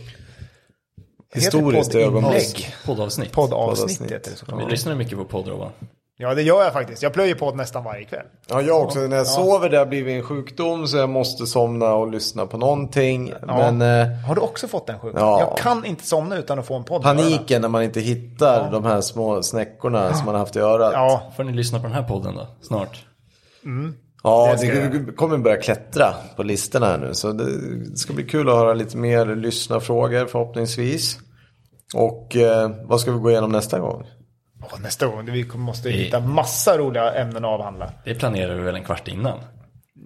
Historiskt
poddinlägg.
ögonblick.
Poddavsnitt.
poddavsnittet.
Ja.
Vi lyssnar mycket på podd Robban.
Ja, det gör jag faktiskt. Jag plöjer podd nästan varje kväll.
Ja, jag också. När jag sover, det har blivit en sjukdom så jag måste somna och lyssna på någonting.
Ja.
Men eh,
Har du också fått den sjukdomen?
Ja.
Jag kan inte somna utan att få en podd. i öronen.
paniken när man inte hittar de här små snäckorna som man har haft i örat. Ja,
Ja,
Får ni lyssna på den här podden då, snart.
ja
ska
det,
jag
det kommer börja klättra på listorna här nu. Så det ska bli kul att höra lite mer lyssnarfrågor förhoppningsvis. Och eh, vad ska vi gå igenom nästa gång?
Åh, nästa gång. Vi måste
Vi-
hitta massa roliga ämnen att avhandla.
Det planerar vi väl en kvart innan?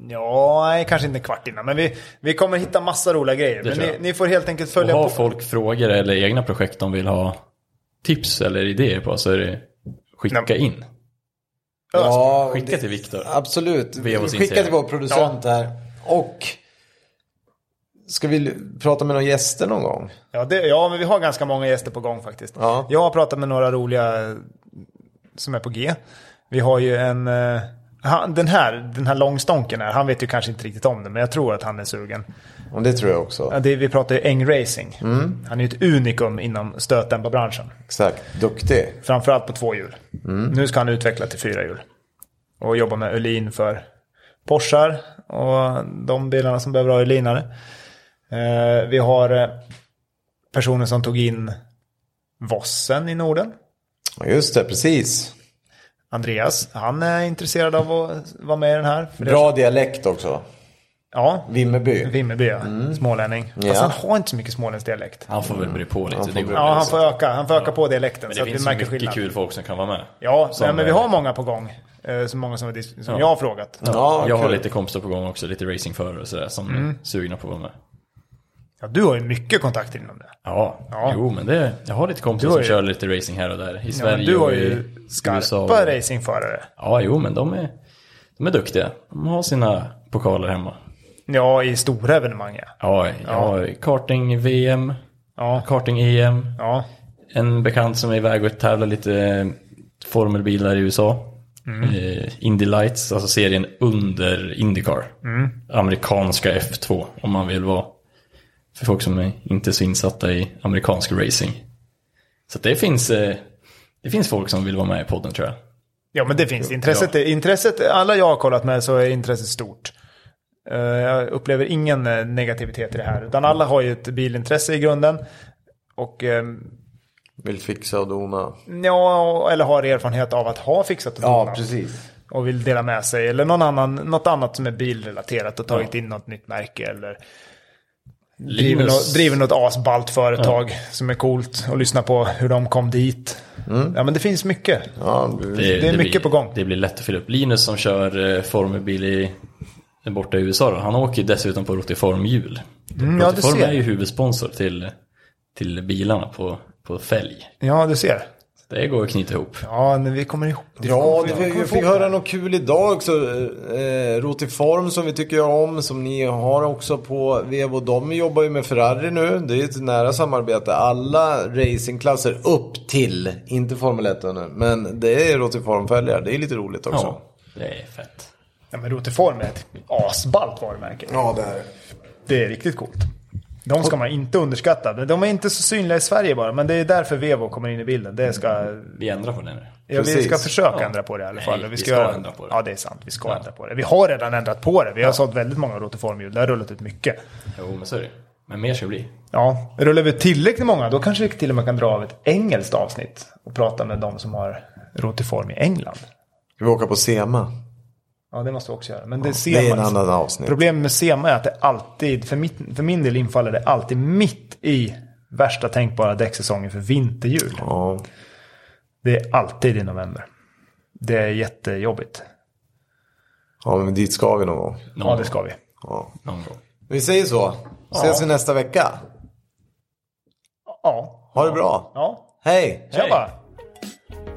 Ja, nej, kanske inte en kvart innan, men vi, vi kommer hitta massa roliga grejer. Men
tror
ni,
jag.
ni får helt enkelt
Och
följa
har
på.
folk frågor eller egna projekt de vill ha tips eller idéer på så är det skicka
Nej.
in.
Ja,
Skicka
det-
till Viktor.
Absolut.
Vi är hos
Skicka
Intera.
till vår producent här. Och ska vi l- prata med några gäster någon gång?
Ja, det, ja, men vi har ganska många gäster på gång faktiskt.
Ja.
Jag har pratat med några roliga eh, som är på G. Vi har ju en... eh, Han, den, här, den här långstonken här, han vet ju kanske inte riktigt om det, men jag tror att han är sugen.
Och det tror jag
Ja,
också.
det, vi pratar ju Eng-racing. Han är ju ett unikum inom stötdämparbranschen.
Exakt. Duktig.
Framförallt på två hjul.
Mm.
Nu ska han utveckla till fyra hjul. Och jobba med Öhlin för Porschar och de bilarna som behöver ha Öhlinare. Eh, vi har eh, personer som tog in Vossen i Norden.
Ja, Just det, precis.
Andreas, han är intresserad av att vara med i den här. För det-
Bra dialekt också.
Ja,
Vimmerby.
Vimmerby ja.
Mm.
Smålänning. Fast
Ja.
han har inte så mycket småländsk dialekt.
Han får väl bre på lite.
Han får
Det går
bre-
väl.
Ja, han får öka, han får öka på dialekten
Men
så
det
att vi
finns
märker
mycket
skillnad.
kul folk som kan vara med.
Ja, nej,
Som,
men vi
eh,
har många på gång. Eh, så många som, vi dis- som jag har frågat.
Ja,
jag har
kul.
lite kompisar på gång också, lite racingförare och sådär som
Mm.
är sugna på att vara med.
Ja, du har ju mycket kontakter inom det.
Ja,
Ja.
jo men det, jag har lite kompisar
Du har
som
ju-
kör lite racing här och där. I
Ja, men
Sverige
du har
och i
ju skarpa
USA. och-
racingförare.
Ja, jo men de är, de är duktiga. De har sina pokaler hemma.
Ja, i stora evenemang ja.
Ja, jag har karting-VM,
Ja,
karting-EM.
ja.
En bekant som är iväg och tävlar lite eh, formelbilar i USA. Eh, Indy Lights, alltså serien under Indycar. Amerikanska F2 om man vill vara. För folk som är inte så insatta i amerikansk racing. Så att det finns, eh, det finns folk som vill vara med i podden tror jag.
ja men det finns. Intresset, är, intresset, alla jag har kollat med så är intresset stort. Eh, Jag upplever ingen eh, negativitet i det här. Utan alla har ju ett bilintresse i grunden. Och eh,
Vill fixa och dona.
ja, eller har erfarenhet av att ha fixat och
Ja,
donat.
precis.
och vill dela med sig. Eller någon annan, något annat som är bilrelaterat och tagit in något nytt märke. Eller driver, något, driver något asballt företag som är coolt. Och lyssna på hur de kom dit. Ja men det finns mycket.
Ja,
det är mycket
blir,
på gång.
Det blir lätt att fylla upp. Linus som kör eh, formelbil i, borta i USA då, han åker ju dessutom på Rotiform-hjul.
Mm, ja, du
Rotiform
ser.
är ju huvudsponsor till, till bilarna på, på fälg.
Ja du ser.
Det går att knyta ihop.
Ja men vi kommer ihop.
Ja, det var, jag fick höra något kul idag också. Eh, Rotiform som vi tycker om, som ni har också på Vevo. De jobbar ju med Ferrari nu. Det är ett nära samarbete. Alla racingklasser upp till, inte Formel 1 ännu, men det är Rotiform-följare. Det är lite roligt också.
Ja, det är fett.
Ja, men Rotiform är ett asballt varumärke.
det är
Det är riktigt coolt. De ska man inte underskatta. Men De är inte så synliga i Sverige bara. Men det är därför Vevo kommer in i bilden. Det ska
Vi ändrar på det nu.
Ja, vi ska
Precis.
försöka
Ja.
ändra på det i alla
Nej,
fall.
vi ska
göra-
ändra på det.
Ja, det är sant. Vi ska ändra på det. Vi har redan ändrat på det. Vi har sålt väldigt många rotiformhjul. Det har rullat ut mycket.
Jo, men så är det. Men mer ska det bli.
Ja, rullar vi ut tillräckligt många då kanske vi till och med kan dra av ett engelskt avsnitt och prata med de som har rotiform i England.
Ska vi åka på SEMA?
Ja, det måste vi också göra. Men det ser
Det är en
man-
annan avsnitt.
Problemet med SEMA är att det alltid, för, mitt, för min del infaller det alltid mitt i värsta tänkbara däcksäsongen för vinterhjul.
Ja.
Det är alltid i november. Det är jättejobbigt.
ja, men dit ska vi någon gång.
Någon,
Ja, det ska vi.
Ja.
någon gång.
Vi säger så. Ses vi nästa vecka.
Ja.
Ha det bra.
Ja.
Hej!
Tja
Hej.
bara.